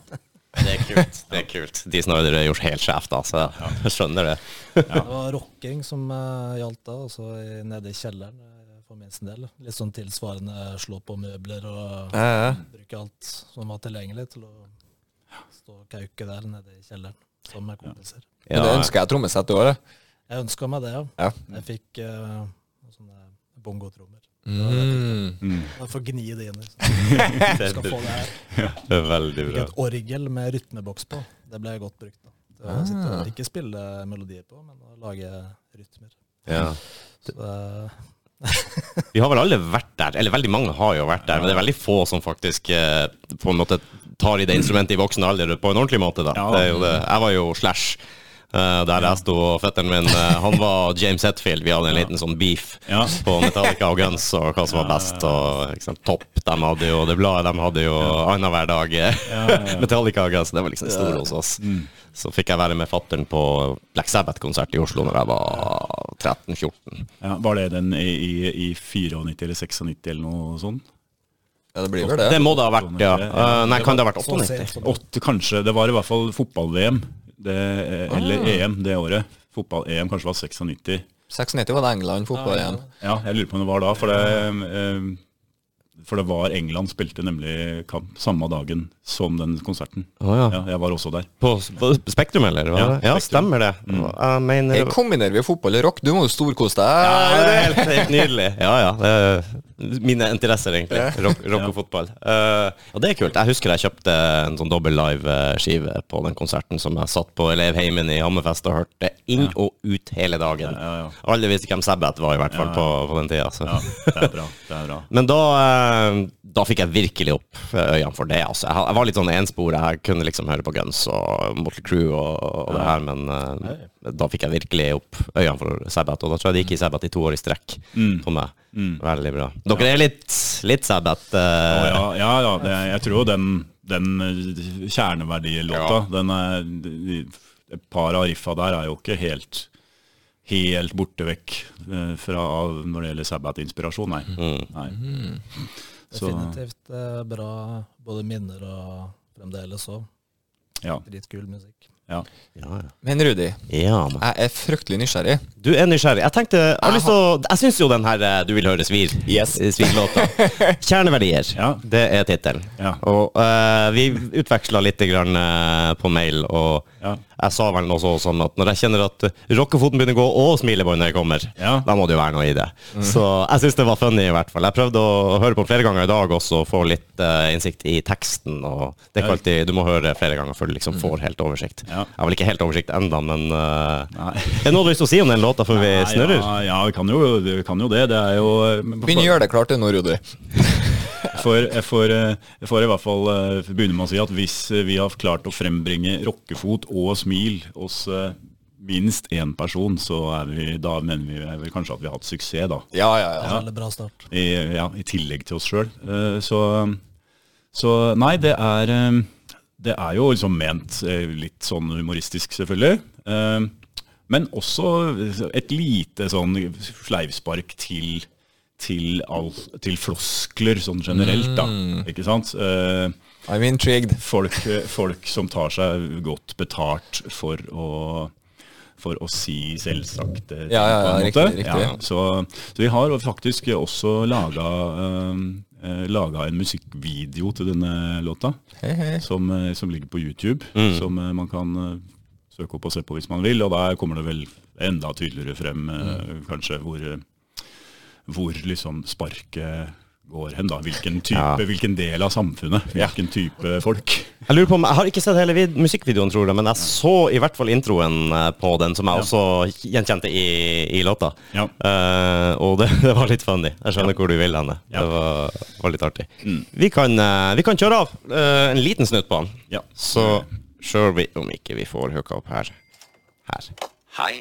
Speaker 1: det er kult. det er kult. De Snyder er gjort helt sjef, da, så jeg skjønner det.
Speaker 4: Det var rocking som eh, gjaldt da, altså i- nede i kjelleren eh, for min sin del. Litt sånn tilsvarende slå på møbler og
Speaker 2: Ja, ja.
Speaker 4: bruke alt som var tilgjengelig til å stå og kauke der nede i kjelleren sammen med kompiser.
Speaker 2: Men det
Speaker 1: Ja,
Speaker 2: ønsker jeg trommesett òg, det.
Speaker 4: Jeg ønska meg det, ja.
Speaker 2: Ja.
Speaker 4: Jeg fikk eh, noen sånne bongotrommer.
Speaker 2: Mm.
Speaker 4: Jeg får gni det inn. Liksom. Du skal få det her.
Speaker 1: det er veldig
Speaker 4: Fikk
Speaker 1: bra.
Speaker 4: et orgel med rytmeboks på. Det ble godt brukt. da. Det var å sitte
Speaker 1: Ah.
Speaker 4: og ikke spille melodier på, men å lage rytmer.
Speaker 1: Ja.
Speaker 4: Så, eh,
Speaker 1: Vi har vel alle vært der, eller veldig mange har jo vært der, men det er veldig få som faktisk eh, på en måte tar i det instrumentet i voksen alder på en ordentlig måte. da.
Speaker 3: Ja.
Speaker 1: Det er jo det. Jeg var jo Slash, eh, der jeg sto, og fetteren min eh, han var James Hetfield. Vi hadde en liten sånn beef
Speaker 3: Ja.
Speaker 1: på Metallica og Guns og hva som var best. og ikke sant, Topp de hadde jo, det bladet de hadde jo annenhver dag. eh, Metallica og Guns, det var liksom det store hos oss.
Speaker 3: Mm.
Speaker 1: Så fikk jeg være med fattern på Black Sabbath-konsert i Oslo når jeg var 13-14.
Speaker 3: Ja, var det den i, i, i 94 eller 96 eller noe sånt?
Speaker 2: Ja, det blir vel det.
Speaker 1: Det må det ha vært, ja. Eh, Nei, kan det ha vært
Speaker 4: så
Speaker 1: 98?
Speaker 4: sent som det.
Speaker 3: Åtte, kanskje. Det var i hvert fall fotball-VM. Det, eh, eller EM det året. Fotball-EM kanskje var 96.
Speaker 2: 96 var det England fotball igjen.
Speaker 3: Ja, jeg lurer på om det var da. For det, eh, for det var England spilte nemlig kamp samme dagen som den konserten.
Speaker 1: Å, ja.
Speaker 3: Ja, jeg var også der.
Speaker 1: På, på Spektrum, eller? hva?
Speaker 3: Ja,
Speaker 1: Ja,
Speaker 3: Spektrum. Mm.
Speaker 1: stemmer det. Jeg mener
Speaker 2: Her kombinerer vi fotball og rock. Du må jo storkose deg.
Speaker 1: ja, det er helt, helt nydelig. Ja, ja. Det er mine interesser, egentlig. Rock, rock og fotball. Eh, og det er kult. Jeg husker jeg kjøpte en sånn dobbel live-skive på den konserten som jeg satt på elevheimen i Hammerfest og hørte inn og ut hele dagen.
Speaker 3: Ja, ja, ja.
Speaker 1: Alle visste hvem Sabbath var, i hvert fall, på, på den tida. Så.
Speaker 3: Ja, det er bra. det er bra.
Speaker 1: Men da, eh, da fikk jeg virkelig opp øynene for det. Altså. Jeg, ha- jeg var litt sånn enspor. Jeg kunne liksom høre på Guns og Motley Crew og, og det her, men eh, da fikk jeg virkelig opp øynene for Sabbath. Og da tror jeg det gikk i Sabbath i to år i strekk
Speaker 3: Mm.
Speaker 1: for meg. Veldig bra. Dere er litt, litt Sabbath.
Speaker 3: Å,
Speaker 1: eh,
Speaker 3: Ja, ja, ja det, jeg tror jo den, den eh, kjerneverdilåta den er, de- Et par av riffa der er jo ikke helt Helt borte vekk eh, fra når det gjelder Sabbath-inspirasjon, nei. nei. Så
Speaker 4: Definitivt eh, bra både minner og fremdeles òg.
Speaker 3: ja.
Speaker 4: Dritkul musikk.
Speaker 3: ja.
Speaker 1: ja, ja.
Speaker 2: Men Rudi,
Speaker 1: ja men.
Speaker 2: jeg er fryktelig nysgjerrig.
Speaker 1: Du er nysgjerrig. Jeg tenkte, jeg har lyst til å Jeg syns jo den her eh, Du vil høre svir. Eh,
Speaker 2: Yes.
Speaker 1: Svirlåta. Kjerneverdier.
Speaker 3: Ja.
Speaker 1: Det er tittelen.
Speaker 3: Ja.
Speaker 1: Og eh, vi utveksla litt grann, eh, på mail, og
Speaker 3: Ja.
Speaker 1: Jeg sa vel noe så- sånn at når jeg kjenner at rockefoten begynner å gå, og smilebåndet kommer,
Speaker 3: Ja. Mm.
Speaker 1: da må det jo være noe i det. Så jeg syns det var funny, i hvert fall. Jeg prøvde å høre på flere ganger i dag også, og få litt eh, innsikt i teksten. Og det er ikke alltid du må høre flere ganger før du liksom får helt oversikt.
Speaker 3: Mm. Ja.
Speaker 1: Jeg har vel ikke helt oversikt enda, men eh,
Speaker 3: Nei.
Speaker 1: Er det noe du har lyst til å si om den låta før vi
Speaker 3: Nei,
Speaker 1: snurrer?
Speaker 3: Ja, ja vi, kan jo, vi kan jo det. Det er jo eh, men-
Speaker 2: Begynn å gjøre det klart, du, nå, Rudi.
Speaker 3: For, for, for i hvert fall eh, begynne med å si at hvis eh, vi har klart å frembringe rockefot og smil hos eh, minst én person, så er vi, da mener vi vel kanskje at vi har hatt suksess, da.
Speaker 2: Ja, ja, ja.
Speaker 4: Veldig bra start.
Speaker 3: I, ja, i tillegg til oss sjøl. Så, så nei, det er eh, Det er jo liksom ment eh, litt sånn humoristisk, selvfølgelig. Eh, Men også et lite sånn sleivspark til til, all, til floskler sånn generelt, da. Ikke sant? Eh,
Speaker 2: I'm intrigued.
Speaker 3: folk, folk som tar seg godt betalt for å for å si selvsagte ting,
Speaker 2: Ja, ja, ja,
Speaker 3: på en måte.
Speaker 2: riktig, riktig.
Speaker 3: Ja, så, så vi har faktisk også laga eh, laga en musikkvideo til denne låta,
Speaker 2: Hei, hei.
Speaker 3: som, eh, som ligger på YouTube.
Speaker 2: Mm.
Speaker 3: Som eh, man kan eh, søke opp og se på hvis man vil, og der kommer det vel enda tydeligere frem eh,
Speaker 2: Mm.
Speaker 3: kanskje hvor, eh, hvor liksom sparket går hen, da. Hvilken type,
Speaker 1: Ja.
Speaker 3: hvilken del av samfunnet, hvilken type folk.
Speaker 1: Jeg lurer på om, jeg har ikke sett hele vid musikkvideoen, tror jeg, men jeg så i hvert fall introen eh, på den, som jeg også gjenkjente i, i låta.
Speaker 3: Ja.
Speaker 1: Eh, og det, det var litt funny. Jeg skjønner hvor du vil henne.
Speaker 3: Ja. Mm.
Speaker 1: Det var, var litt artig. Vi, kan, eh, vi kan kjøre av eh, en liten snutt på den.
Speaker 3: Ja.
Speaker 1: Så ser vi om ikke vi får hooka opp her. Her.
Speaker 5: Hei,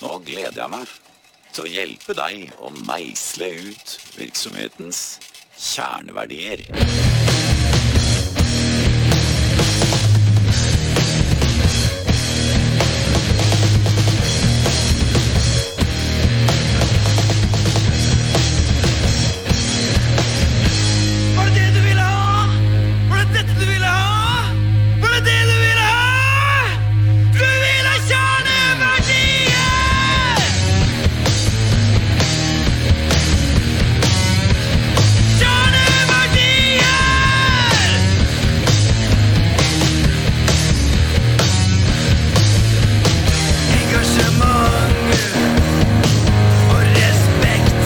Speaker 5: nå gleder jeg meg til å hjelpe deg å meisle ut virksomhetens kjerneverdier.
Speaker 6: Var det det du ville ha? Var det dette du ville ha? Var det det du ville ha? Du vil ha kjerneverdier! Kjerneverdier! Engasjement og respekt.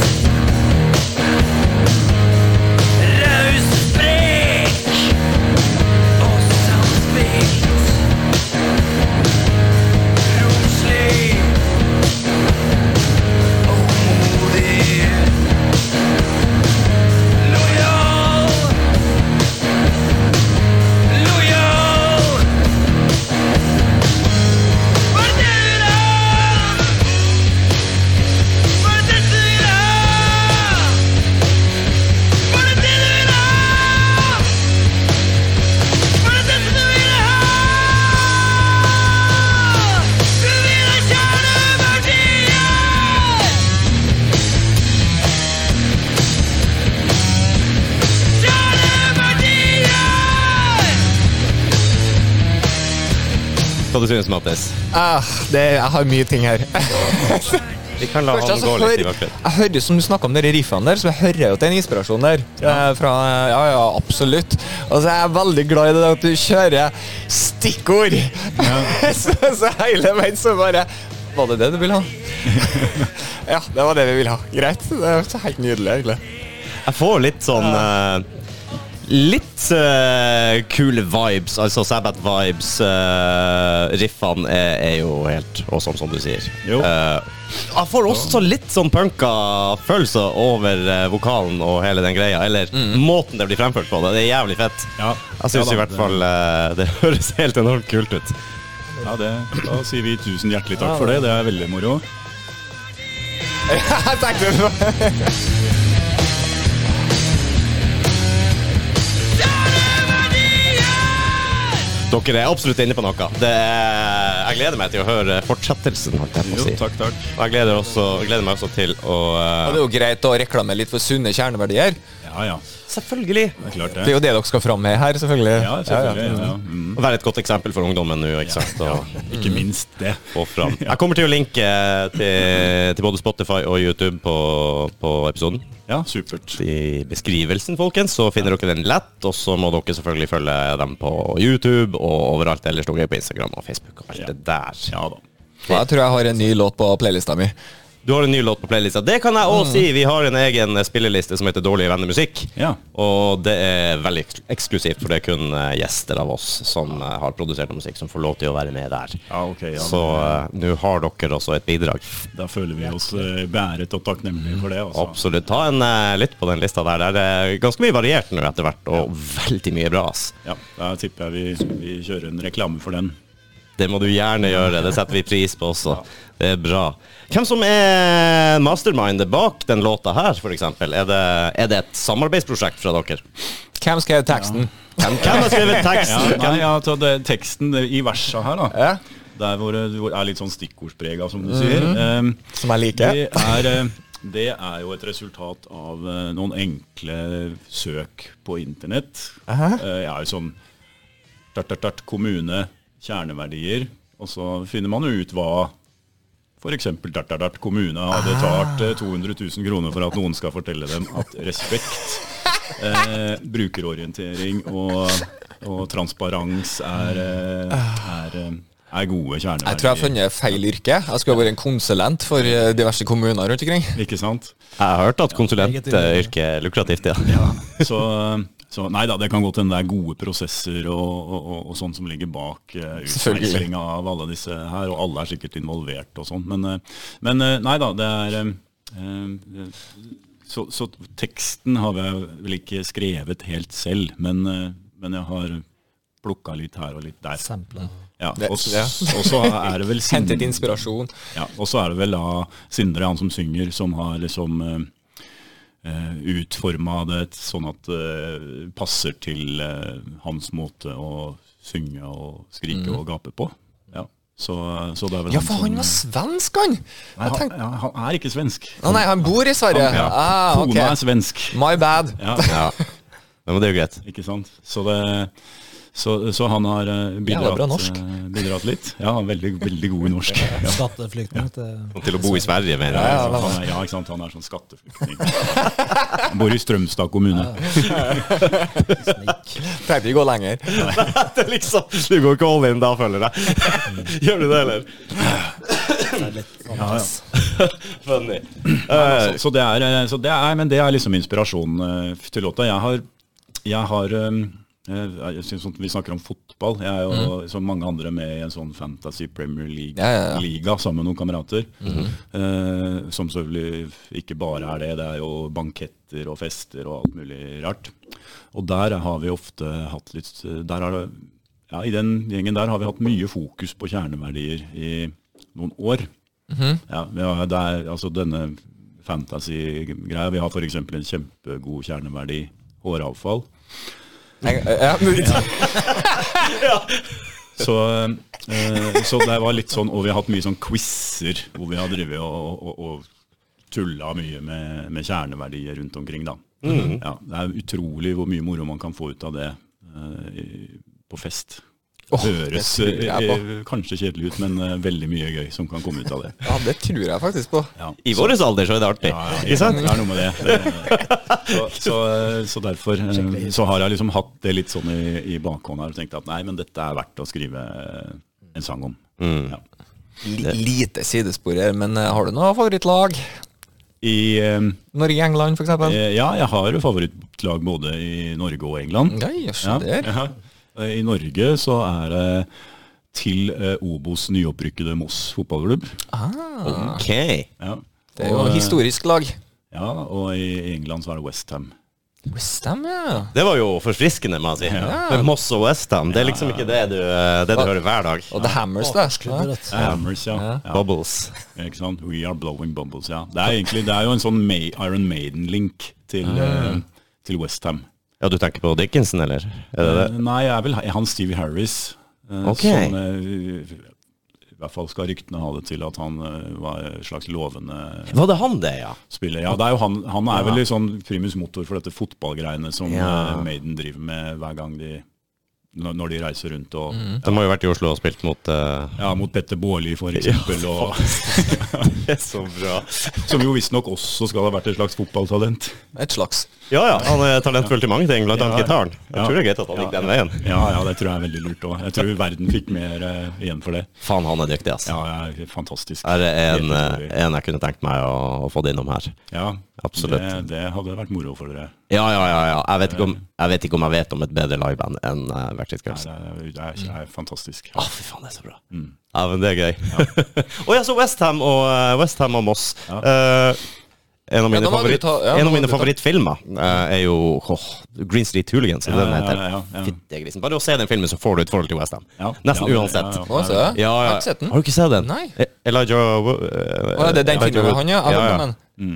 Speaker 6: Raus sprek og samspilt. Romslig og modig. Lojal. Lojal. Var det det du la? Var det dette du la? Var det det du ville ha? Var det dette du ville ha? Du vil ha kjerneverdier! Kjerneverdier!
Speaker 1: Hva du synes Mattis?
Speaker 2: Ah, det, jeg har mye ting her.
Speaker 1: Vi kan la han
Speaker 2: Først, altså,
Speaker 1: gå
Speaker 2: hør,
Speaker 1: litt i hvert fall.
Speaker 2: jeg hører jo som du snakket om de riffene der, så jeg hører jo til den inspirasjonen der. eh, Fra, ja, ja, absolutt. Altså, jeg er veldig glad i det at du kjører stikkord. så, så hele veien så bare Var det det du ville ha? ja, det var det vi ville ha. Greit. Det er så helt nydelig, egentlig.
Speaker 1: Jeg får litt sånn eh, Litt eh, kule vibes, altså Sabbath-vibes. eh, riffene er, er jo helt awesome, som du sier.
Speaker 3: Jo.
Speaker 1: Eh, jeg får også litt sånn punka følelse over eh, vokalen og hele den greia. Eller måten det blir fremført på. Det, det er jævlig fett.
Speaker 3: Mm. Ja.
Speaker 1: Jeg syns
Speaker 3: Ja da,
Speaker 1: i hvert
Speaker 3: det-
Speaker 1: fall eh, det høres helt enormt kult ut.
Speaker 3: Ja, det, Da sier vi tusen hjertelig takk for det. Det er veldig moro.
Speaker 2: Jeg tenkte det var-
Speaker 1: Dere er absolutt inne på noe. Det er, jeg gleder meg til å høre fortsettelsen. holdt jeg på
Speaker 3: Jo,
Speaker 1: å si.
Speaker 3: takk, takk.
Speaker 1: Og jeg gleder, også, gleder meg også til å eh,
Speaker 2: Ja, Det er jo greit å reklame litt for sunne kjerneverdier.
Speaker 3: Ja, ja.
Speaker 1: Selvfølgelig.
Speaker 3: Det er klart
Speaker 2: Det er
Speaker 3: det.
Speaker 2: jo det dere skal fram med her, selvfølgelig.
Speaker 3: Ja, selvfølgelig. Ja, ja. Mm.
Speaker 1: Å være et godt eksempel for ungdommen nå, ikke sant. Og,
Speaker 3: Ikke minst det.
Speaker 1: og fram. Jeg kommer til å linke eh, til, til både Spotify og YouTube på, på episoden.
Speaker 3: Ja, supert.
Speaker 1: I beskrivelsen, folkens, så finner dere den lett. Og så må dere selvfølgelig følge dem på YouTube og overalt ellers. Dere er på Instagram og Facebook og alt
Speaker 3: Ja.
Speaker 1: det der.
Speaker 3: Ja da.
Speaker 2: Og Jeg tror jeg har en ny låt på playlista mi.
Speaker 1: Du har en ny låt på playlista. Det kan
Speaker 3: Mm.
Speaker 1: jeg òg si! Vi har en egen eh, spilleliste som heter Dårlige venner musikk.
Speaker 3: Ja.
Speaker 1: Og det er veldig eks- eksklusivt, for det er kun eh, gjester av oss som eh, har produsert noe musikk, som får lov til å være med der.
Speaker 3: Ja, ok. Ja,
Speaker 1: Så eh, nå har dere også et bidrag.
Speaker 3: Da føler vi oss eh, beæret og takknemlige for det. Altså.
Speaker 1: Absolutt. Ta en eh, lytt på den lista der. Det er ganske mye variert nå etter hvert, og veldig mye bra. ass.
Speaker 3: Ja, da tipper jeg vi, vi kjører en reklame for den.
Speaker 1: Det må du gjerne gjøre. Det setter vi pris på også. Det er bra. Hvem som er eh, mastermindet bak den låta her, f.eks.? Er, det- er det et samarbeidsprosjekt fra dere?
Speaker 2: Hvem skrev teksten?
Speaker 1: Hvem, hvem har skrevet
Speaker 3: Ja,
Speaker 1: teksten?
Speaker 3: nei, ja, så det, teksten det, i versa her, da.
Speaker 2: Ja.
Speaker 3: Der hvor det hvor det er litt sånn stikkordsprega, som du sier. Ehm,
Speaker 2: Som jeg liker?
Speaker 3: det, er, eh, det er jo et resultat av eh, noen enkle søk på internett.
Speaker 2: Aha.
Speaker 3: Eh, Jeg er jo sånn tart, tart, tart, kommune, kjerneverdier. Og så finner man jo ut hva f.eks. Dart, dart, dart kommune hadde talt eh, 200 000 kroner for at noen skal fortelle dem at respekt, eh, brukerorientering og, og transparens er, eh, er, eh, er gode kjerneverdier.
Speaker 2: Jeg tror jeg har funnet feil yrke. Jeg skulle ha vært en konsulent for eh, diverse kommuner rundt omkring.
Speaker 3: Ikke sant?
Speaker 1: Jeg har hørt at konsulentyrket er lukrativt, ja.
Speaker 3: Så, eh, så nei da, det kan godt hende det er gode prosesser og, og, og, og sånn som ligger bak uh,
Speaker 2: Selvfølgelig.
Speaker 3: utvekslinga av alle disse her, og alle er sikkert involvert og sånn. Men, eh, men eh, nei da, det er eh, eh, så, så teksten har jeg vel ikke skrevet helt selv, men, eh, men jeg har plukka litt her og litt der.
Speaker 4: Samplet.
Speaker 3: Ja,
Speaker 2: Det-
Speaker 3: og, s-
Speaker 2: ja.
Speaker 3: og så er det vel
Speaker 2: Hentet
Speaker 3: Sindre-
Speaker 2: inspirasjon.
Speaker 3: ja, og så er det vel da Sindre, han som synger, som har liksom uh, utforma det sånn at det passer til eh, hans måte å synge og skrike og gape på. Ja, så, eh, så det er vel
Speaker 2: Mhm. Ja, for han var
Speaker 3: som-
Speaker 2: svensk, han!
Speaker 3: Nei,
Speaker 2: Jeg
Speaker 3: han,
Speaker 2: tenkte,
Speaker 3: ja, han er ikke svensk.
Speaker 2: Å nei, han bor i Sverige.
Speaker 3: Han- ja.
Speaker 2: Ah, ok.
Speaker 3: Kona er svensk.
Speaker 2: My bad.
Speaker 3: Ja,
Speaker 1: ja. Men det er jo greit.
Speaker 3: ikke sant? Så det... Så, så han har eh, bidratt,
Speaker 2: bra norsk.
Speaker 3: eh, bidratt litt. Ja, han er veldig, veldig god i norsk. Ja,
Speaker 4: Skatteflyktning til
Speaker 1: Til å bo i Sverige, mener
Speaker 3: ja,
Speaker 1: jeg.
Speaker 3: ikke sant? han, er, ja ikke sant? han er sånn skatteflyktning. Han bor i Strømstad kommune.
Speaker 4: snik.
Speaker 2: Trengte ikke gå lenger.
Speaker 1: Det er liksom, du går ikke all in da, føler jeg. Gjør du det, eller?
Speaker 4: Det er litt
Speaker 3: Ja,
Speaker 4: sånn
Speaker 3: ja.
Speaker 4: pass.
Speaker 1: Funny.
Speaker 3: så,
Speaker 2: altså-
Speaker 3: så det er, eh, så det er, men det er liksom inspirasjonen eh, til låta. Jeg har, jeg har eh, eh, jeg synes at Vi snakker om fotball. Jeg er jo som mange andre med i en sånn Fantasy Premier League
Speaker 2: Mhm. Ja, ja, Mhm. ja.
Speaker 3: liga sammen med noen kamerater. eh, som selvfølgelig ikke bare er det, det er jo banketter og fester og alt mulig rart. Og der har vi ofte hatt litt der har, det- ja, I den gjengen der har vi hatt mye fokus på kjerneverdier i noen år. Ja, vi har- det er, altså denne fantasy-greia Vi har f.eks. en kjempegod kjerneverdi håravfall.
Speaker 2: Jeg, ja, men-
Speaker 3: Så, eh, så det var litt sånn, og vi har hatt mye sånn quizer hvor vi har drevet og, og, og tulla mye med, med kjerneverdier rundt omkring, da.
Speaker 2: Mm.
Speaker 3: Ja, det er utrolig hvor mye moro man kan få ut av det eh, i- på fest.
Speaker 2: Åh,
Speaker 3: Høres
Speaker 2: det tror jeg
Speaker 3: eh, eh, kanskje kjedelig ut, men eh, veldig mye gøy som kan komme ut av det.
Speaker 2: ja, det tror jeg faktisk på.
Speaker 3: Ja.
Speaker 1: I vår alder så er det artig.
Speaker 3: Ja,
Speaker 1: Ikke
Speaker 3: ja,
Speaker 1: sant?
Speaker 3: det er noe med det. det. Så, så, så derfor eh, så har jeg liksom hatt det litt sånn i, i bakhånd her og tenkt at nei, men dette er verdt å skrive eh, en sang om. Ja.
Speaker 2: L lite sidespor her, men eh, har du noe favorittlag?
Speaker 3: I, eh,
Speaker 2: Norge-England, for eksempel?
Speaker 3: eh, ja, jeg har jo favorittlag både i Norge og England.
Speaker 2: Nei,
Speaker 3: Ja,
Speaker 2: jøsse der.
Speaker 3: ja. Eh, I Norge så er det til eh, Obos nyopprykkede Moss fotballklubb.
Speaker 1: Ok.
Speaker 3: Ja.
Speaker 2: Det er jo
Speaker 3: Og, eh,
Speaker 2: historisk lag.
Speaker 3: Ja, og i England så er det Westham.
Speaker 2: Westham, ja.
Speaker 1: Det var jo forfriskende, må jeg si. Med Moss og Westham. Det er liksom ikke det du, det du hører hver dag.
Speaker 2: Og The Hammers, da.
Speaker 4: Bakskuddet, vet du.
Speaker 3: Hammers, ja. ja.
Speaker 1: Bubbles.
Speaker 3: Ikke sant? We are blowing bubbles, ja. Det er egentlig det er jo en sånn May Iron Maiden-link til, eh, til Westham.
Speaker 1: Ja, du tenker på Dickinson, eller? Er det det?
Speaker 3: Nei, jeg er vel han Stevie Harris. eh,
Speaker 1: Ok.
Speaker 3: Som eh, I hvert fall skal ryktene ha det til at han eh, var en slags lovende
Speaker 1: Mm. Var det han det, ja?
Speaker 3: spiller. Ja, det er jo han, han er vel litt sånn primus motor for dette fotballgreiene som
Speaker 1: Ja.
Speaker 3: eh, Maiden driver med hver gang de når når de reiser rundt og
Speaker 1: De har Mm. jo vært i Oslo og spilt mot eh,
Speaker 3: Ja, mot Petter Baarli for eksempel, og,
Speaker 1: Det er så bra.
Speaker 3: som jo visstnok også skal ha vært et slags fotballtalent.
Speaker 2: Et slags.
Speaker 1: Ja ja, han er talentfull til mange ting, blant annet gitaren. Jeg
Speaker 3: Ja.
Speaker 1: tror det er greit at han gikk den veien.
Speaker 3: Ja, ja, det tror jeg er veldig lurt òg. Jeg tror verden fikk mer eh, igjen for det.
Speaker 1: Faen, han er dyktig, ass.
Speaker 3: Ja, ja, fantastisk.
Speaker 1: Her er
Speaker 3: Helt
Speaker 1: en,
Speaker 3: utrolig.
Speaker 1: eh, en jeg kunne tenkt meg å, å få det innom her.
Speaker 3: Ja,
Speaker 1: absolutt.
Speaker 3: Det, det hadde vært moro for dere.
Speaker 1: Ja, ja, ja. ja. Jeg, vet ikke om, jeg vet ikke om jeg vet om et bedre liveband enn uh, Verkstedt
Speaker 3: Nei,
Speaker 1: Girls.
Speaker 3: Det er, det er, det er Mm. fantastisk.
Speaker 1: Å, fy faen, det er så bra. Ja, men det er gøy. og ja, så Westham og, eh, West Ham og Moss. Eh, en av mine,
Speaker 2: nå må du
Speaker 1: favoritt,
Speaker 2: ta- ja,
Speaker 1: en
Speaker 2: nå
Speaker 1: av
Speaker 2: må
Speaker 1: mine
Speaker 2: du ta- Mm.
Speaker 1: favorittfilmer eh, er jo åh, Green Street Hooligans, er det
Speaker 3: Ja,
Speaker 1: den
Speaker 3: ja,
Speaker 1: heter?
Speaker 3: ja, ja, ja.
Speaker 1: Fittegrisen. Bare å se den filmen, så får du et forhold til Westham.
Speaker 3: Ja. Ja,
Speaker 1: Nesten
Speaker 3: det-
Speaker 1: uansett.
Speaker 3: ja, ja.
Speaker 2: Hva sa du?
Speaker 1: Ja, ja.
Speaker 2: Har ikke sett den.
Speaker 1: Har du ikke sett den?
Speaker 2: Mm. Nei.
Speaker 1: E- Elijah Wo- eh,
Speaker 2: Å, ja, det er den
Speaker 1: Elijah
Speaker 2: filmen med
Speaker 1: Wood.
Speaker 2: han, ja. Jeg
Speaker 1: ja,
Speaker 2: vet
Speaker 1: ja.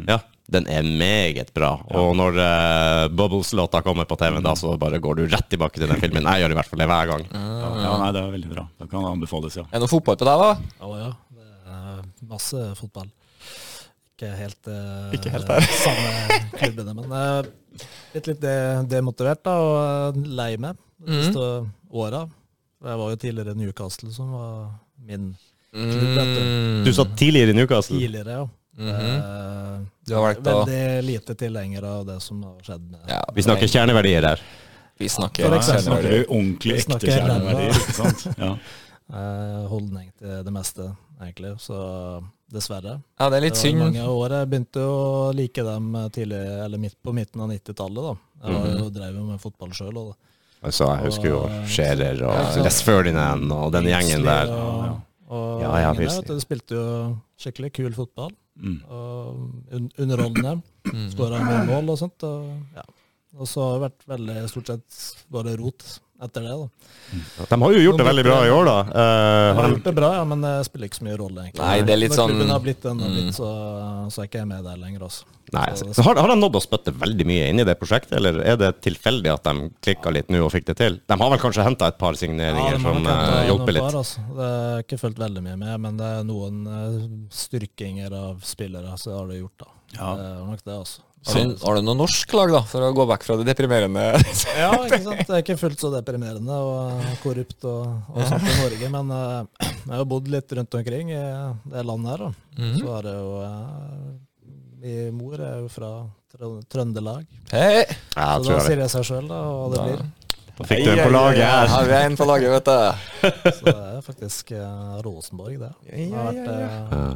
Speaker 2: om
Speaker 1: ja. Den er meget bra. Og når eh, Bubbles-låta kommer på TV, da så bare går du rett tilbake til den filmen. Jeg gjør i hvert fall det hver gang.
Speaker 2: Mm.
Speaker 3: Ja, ja, nei, det er veldig bra. Det kan anbefales, ja.
Speaker 2: Er det noe fotball på deg, da?
Speaker 4: Å ja. Det er masse fotball. Ikke helt, eh, samme klubbene, men eh, litt, litt de- demotivert da, og eh, lei meg de siste åra. Jeg var jo tidligere Newcastle, som var min klubb. vet
Speaker 2: Mm.
Speaker 4: du.
Speaker 1: Du satt tidligere i Newcastle.
Speaker 4: Tidligere, ja. Eh,
Speaker 2: Du har valgt å
Speaker 4: Veldig lite tilhenger av det som har skjedd med
Speaker 2: ja,
Speaker 1: Vi snakker kjerneverdier her.
Speaker 2: Vi
Speaker 4: For
Speaker 2: snakker
Speaker 3: Nei, jeg
Speaker 4: eksempel.
Speaker 3: snakker
Speaker 2: kjerneverdier.
Speaker 3: jo ordentlig
Speaker 4: Vi
Speaker 3: ekte
Speaker 4: snakker ræva.
Speaker 3: kjerneverdier, ikke sant? Ja.
Speaker 4: eh, holdning til det meste, egentlig. Så dessverre.
Speaker 2: Ja, det er litt
Speaker 4: Det var
Speaker 2: synd.
Speaker 4: mange år jeg begynte å like dem tidlig, eller midt på midten av 90-tallet. da. Jeg var
Speaker 2: Mhm.
Speaker 4: jo, drev jo med fotball sjøl.
Speaker 1: Altså, jeg husker jo Scherer
Speaker 4: Ja.
Speaker 1: og Les Ferdinand og den gjengen der.
Speaker 4: Og, og
Speaker 1: Ja, ja,
Speaker 4: gjengen der,
Speaker 1: Pilsner.
Speaker 4: vet du, de spilte jo skikkelig kul fotball.
Speaker 3: Mm.
Speaker 4: og un Underholdende.
Speaker 2: Mm.
Speaker 4: Skåra mye mål og sånt. Og, ja. og så har det vært veldig stort sett bare rot etter det. da.
Speaker 1: De har jo gjort det veldig bra i år, da. Eh,
Speaker 4: Jeg
Speaker 1: har
Speaker 4: har
Speaker 1: de,
Speaker 4: gjort det bra, ja, men det spiller ikke så mye rolle. egentlig.
Speaker 2: Nei, det er litt
Speaker 4: Når
Speaker 2: sånn- Mm.
Speaker 4: klubben har blitt den, har blitt, så, så er ikke jeg med der lenger. altså. også.
Speaker 1: nei, så har, har de nådd å spytte veldig mye inn i det prosjektet, eller er det tilfeldig at de klikka litt nå og fikk det til? De har vel kanskje henta et par signeringer
Speaker 4: Ja,
Speaker 1: som
Speaker 4: det må nok
Speaker 1: eh,
Speaker 4: være noen
Speaker 1: hjelper litt.
Speaker 4: par, altså. Det har jeg ikke fulgt veldig mye med, men det er noen eh, styrkinger av spillere så har det gjort, da.
Speaker 3: Ja.
Speaker 4: Det er nok det, altså.
Speaker 2: Har du, har du noe norsk lag, da, for å gå vekk fra det deprimerende?
Speaker 4: Ja, ikke sant. Det er ikke fullt så deprimerende og eh, korrupt og, og sånt i Norge, men eh, jeg har jo bodd litt rundt omkring i det landet her, da.
Speaker 1: Mhm.
Speaker 4: Så er det jo eh, Min mor er jo fra Trø- Trøndelag,
Speaker 2: Hei!
Speaker 1: Ja,
Speaker 4: altså. så
Speaker 1: jeg
Speaker 4: da
Speaker 1: tror
Speaker 4: sier
Speaker 1: det.
Speaker 4: jeg seg sjøl, da, hva det blir.
Speaker 1: Da fikk du en på laget her.
Speaker 2: Ja, vi er en på laget, vet du.
Speaker 4: Så det er faktisk eh, Rosenborg, det. Det har vært, eh,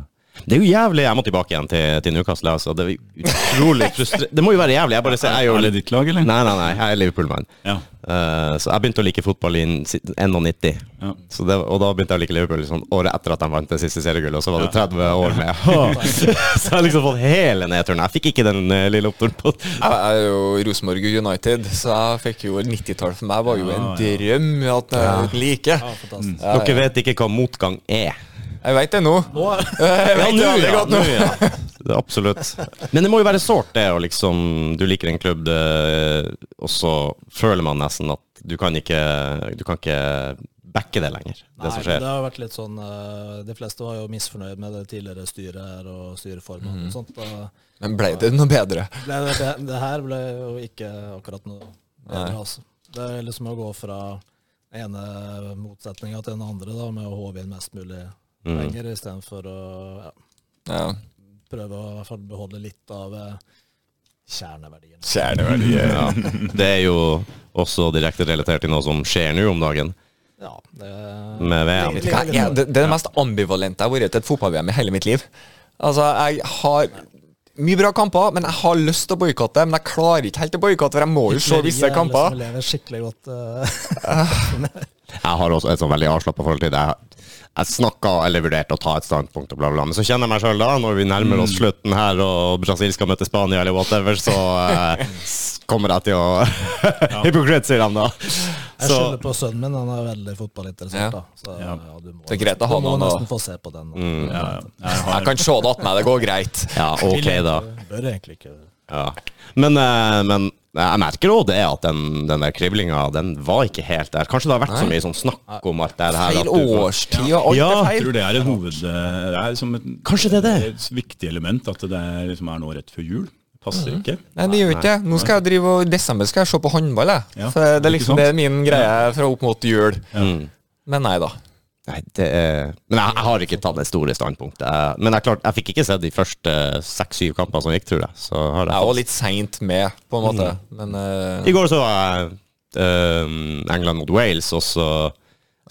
Speaker 1: Det er jo jævlig Jeg må tilbake igjen til, til Newcastle. Altså. Det er jo utrolig frustrerende. Det må jo være jævlig. Jeg bare ser jeg er jo
Speaker 3: Er det ditt lag, eller?
Speaker 1: Nei, nei, nei. Jeg er Liverpool-mann.
Speaker 3: Ja.
Speaker 1: Eh, så jeg begynte å like fotball i 91.
Speaker 3: Ja.
Speaker 1: Så det, og da begynte jeg å like Liverpool liksom, året etter at de vant det siste seriegullet, og så var det 30 år med Så jeg har liksom fått hele nedturen. Jeg fikk ikke den eh, lille oppturen på
Speaker 2: Jeg er jo Rosenborg United, så jeg fikk jo 90-tallet for meg var jo en
Speaker 3: Ja,
Speaker 2: drøm at jeg like.
Speaker 4: ja, fantastisk.
Speaker 1: Dere vet ikke hva motgang er.
Speaker 2: Jeg veit det nå.
Speaker 4: Nå er
Speaker 2: Jeg vet det veldig godt nå.
Speaker 1: ja. Det er absolutt. Men det må jo være sårt, det, å liksom Du liker en klubb, det, og så føler man nesten at du kan ikke Du kan ikke backe det lenger, det
Speaker 4: Nei,
Speaker 1: som
Speaker 4: men
Speaker 1: skjer.
Speaker 4: det har vært litt sånn eh, De fleste var jo misfornøyd med det tidligere styret her og styreformen
Speaker 2: Mhm.
Speaker 4: og sånt. Og
Speaker 2: Men ble det noe bedre?
Speaker 4: ble det, det, det her ble jo ikke akkurat noe bedre, altså. Det er liksom å gå fra den ene motsetninga til den andre da, med å håve inn mest mulig
Speaker 2: Mhm.
Speaker 4: penger istedenfor å ja,
Speaker 2: Ja.
Speaker 4: prøve å i hvert fall beholde litt av eh, kjerneverdien.
Speaker 2: Kjerneverdier.
Speaker 1: Ja. Det er jo også direkte relatert til noe som skjer nå om dagen,
Speaker 4: Ja, det
Speaker 1: med VM.
Speaker 2: Hva er det, det er det mest ambivalente jeg har vært til et fotball-VM i hele mitt liv. Altså, jeg har mye bra kamper, men jeg har lyst til å boikotte. Men jeg klarer ikke helt å boikotte, for jeg må jo se visse
Speaker 4: Hykleriet er
Speaker 2: kamper.
Speaker 1: altså.
Speaker 4: Liksom, lever skikkelig godt eh,
Speaker 1: Jeg har også et sånn veldig avslappa forhold til det. Jeg, jeg snakka eller vurderte å ta et standpunkt og bla, bla, bla. Men så kjenner jeg meg sjøl da, når vi nærmer oss slutten her og Brasil skal møte Spania eller whatever, så eh, s- kommer jeg til å Hypocrite, sier han da.
Speaker 4: Jeg
Speaker 1: Så
Speaker 4: skylder på sønnen min, han er veldig fotballinteressert.
Speaker 2: Ja.
Speaker 4: da. Så, ja. du må,
Speaker 2: Så greit å ha
Speaker 4: du må
Speaker 2: noen å- Mm.
Speaker 4: nesten få se på den. da.
Speaker 3: Ja, ja. Jeg
Speaker 2: Jeg
Speaker 3: har,
Speaker 2: kan se det attmed, det går greit.
Speaker 1: ja, ok, da.
Speaker 4: Bør egentlig ikke
Speaker 1: Ja. Men, eh, men Nei, Jeg merker òg det at den, den der kriblinga, den var ikke helt der. Kanskje det har vært så mye sånn snakk om alt det her. at
Speaker 2: Feil
Speaker 1: du får-
Speaker 2: årstid og alt
Speaker 1: Ja,
Speaker 2: er
Speaker 3: Jeg
Speaker 2: feil.
Speaker 3: tror det er en hoved... eh, Det er som et,
Speaker 1: Kanskje det er det.
Speaker 3: et viktig element at det er, liksom er nå rett før jul.
Speaker 1: Mhm.
Speaker 3: Passer ikke.
Speaker 2: Nei, det gjør ikke det. Nå skal jeg drive og, I desember skal jeg se på håndball, jeg.
Speaker 3: Ja,
Speaker 2: For det er
Speaker 3: ikke sant?
Speaker 2: liksom det er min greie fra opp mot jul.
Speaker 1: Mm.
Speaker 2: Men nei da.
Speaker 1: Nei, det er Men jeg, jeg har ikke tatt det store standpunktet. Jeg- Men jeg, klart, jeg fikk ikke sett de første eh, seks-syv kampene som gikk, tror jeg. Så har jeg
Speaker 2: Jeg var
Speaker 1: fått-
Speaker 2: litt seint med, på en måte. Men eh,
Speaker 1: I går så var jeg øhm, England mot Wales, og så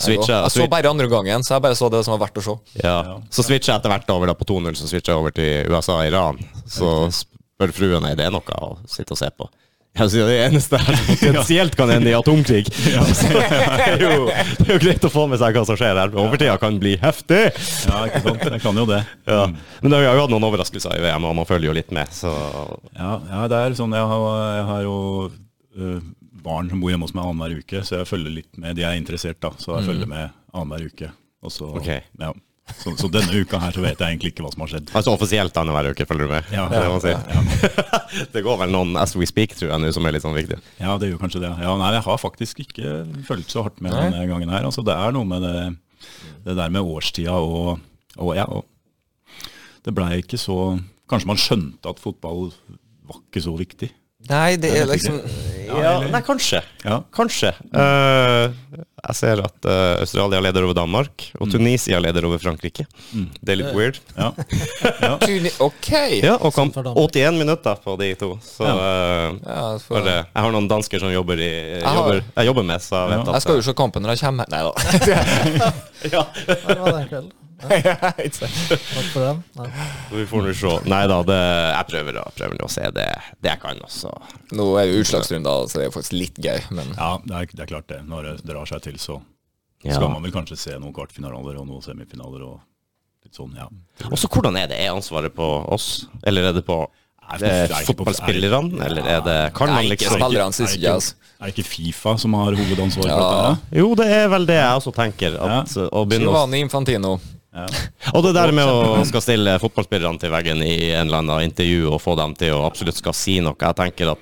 Speaker 1: switcha
Speaker 2: jeg så bare andre gangen, så jeg bare så det som var verdt å se.
Speaker 1: Ja. Så switcha jeg etter hvert over da på 2-0, så switcha jeg over til USA og Iran. Så spør fruen er det noe å sitte og se på. Jeg sier det eneste her som potensielt kan ende i atomkrig. Så det er, jo, det er jo greit å få med seg hva som skjer her. Overtida kan bli heftig!
Speaker 3: Ja, ikke sant? Jeg kan jo det.
Speaker 1: Ja. Men da, vi har jo hatt noen overraskelser i VM, og man følger jo litt med, så
Speaker 3: Ja, ja det er sånn, jeg har, jeg har jo øh, barn som bor hjemme hos meg annenhver uke, så jeg følger litt med. De er interessert, da, så jeg følger med annenhver uke. Og så,
Speaker 1: Ok.
Speaker 3: ja. så, så denne uka her så vet jeg egentlig ikke hva som har skjedd.
Speaker 1: Altså offisielt annenhver uke, følger du med?
Speaker 3: Ja.
Speaker 1: det, må man si. det går vel noen as we speak, tror jeg, nå som er litt sånn viktig.
Speaker 3: Ja, det gjør kanskje det. Ja, nei, jeg har faktisk ikke fulgt så hardt med
Speaker 2: Nei.
Speaker 3: denne gangen her. Altså, det er noe med det, det der med årstida og, og ja, og det blei ikke så Kanskje man skjønte at fotball var ikke så viktig.
Speaker 2: Nei, det er liksom
Speaker 1: Ja, nei, kanskje.
Speaker 3: Ja.
Speaker 1: Kanskje. Eh, jeg ser at eh, Australia leder over Danmark, og
Speaker 3: Mm.
Speaker 1: Tunisia leder over Frankrike. Det er litt weird.
Speaker 3: Ja.
Speaker 2: Tuni- OK!
Speaker 1: Ja, og kamp
Speaker 4: for Danmark.
Speaker 1: 81 minutter på de to, så eh,
Speaker 2: Ja, for-
Speaker 1: bare, Jeg har noen dansker som jobber i, jeg
Speaker 2: har-
Speaker 1: jobber, jeg jobber med, så jeg vet
Speaker 2: Jeg skal
Speaker 1: at
Speaker 2: jo se kampen når jeg kommer. Nei da.
Speaker 1: ja,
Speaker 4: Der var det en kveld. Takk for den. Nei.
Speaker 1: Vi får nå se. Nei da, det, jeg prøver, å- prøver nå å se det, det jeg kan også.
Speaker 2: Nå er det jo utslagsrunder, så det er jo faktisk litt gøy. Men
Speaker 3: ja, det er, det er klart det. Når det drar seg til, så
Speaker 1: Ja.
Speaker 3: skal man vel kanskje se noen kvartfinaler og noen semifinaler og litt sånn, ja.
Speaker 1: Også hvordan er det? Er ansvaret på oss, eller er det på
Speaker 3: Nei,
Speaker 1: det
Speaker 3: det
Speaker 1: er
Speaker 3: er ikke på-
Speaker 1: fotballspillerne, eller er det Kan man
Speaker 2: Nei, ikke
Speaker 1: liksom
Speaker 2: spillerne,
Speaker 3: Er
Speaker 2: synes
Speaker 3: det
Speaker 2: ikke jeg. altså.
Speaker 3: ikke, er det ikke Fifa som har hovedansvaret for
Speaker 2: Ja.
Speaker 3: dette? her?
Speaker 1: Jo, det er vel det jeg også tenker. At, eh, å begynne å
Speaker 2: Giovanni Infantino.
Speaker 1: Og det der med å skal stille fotballspillerne til veggen i en eller annen intervju og få dem til å absolutt skal si noe, jeg tenker at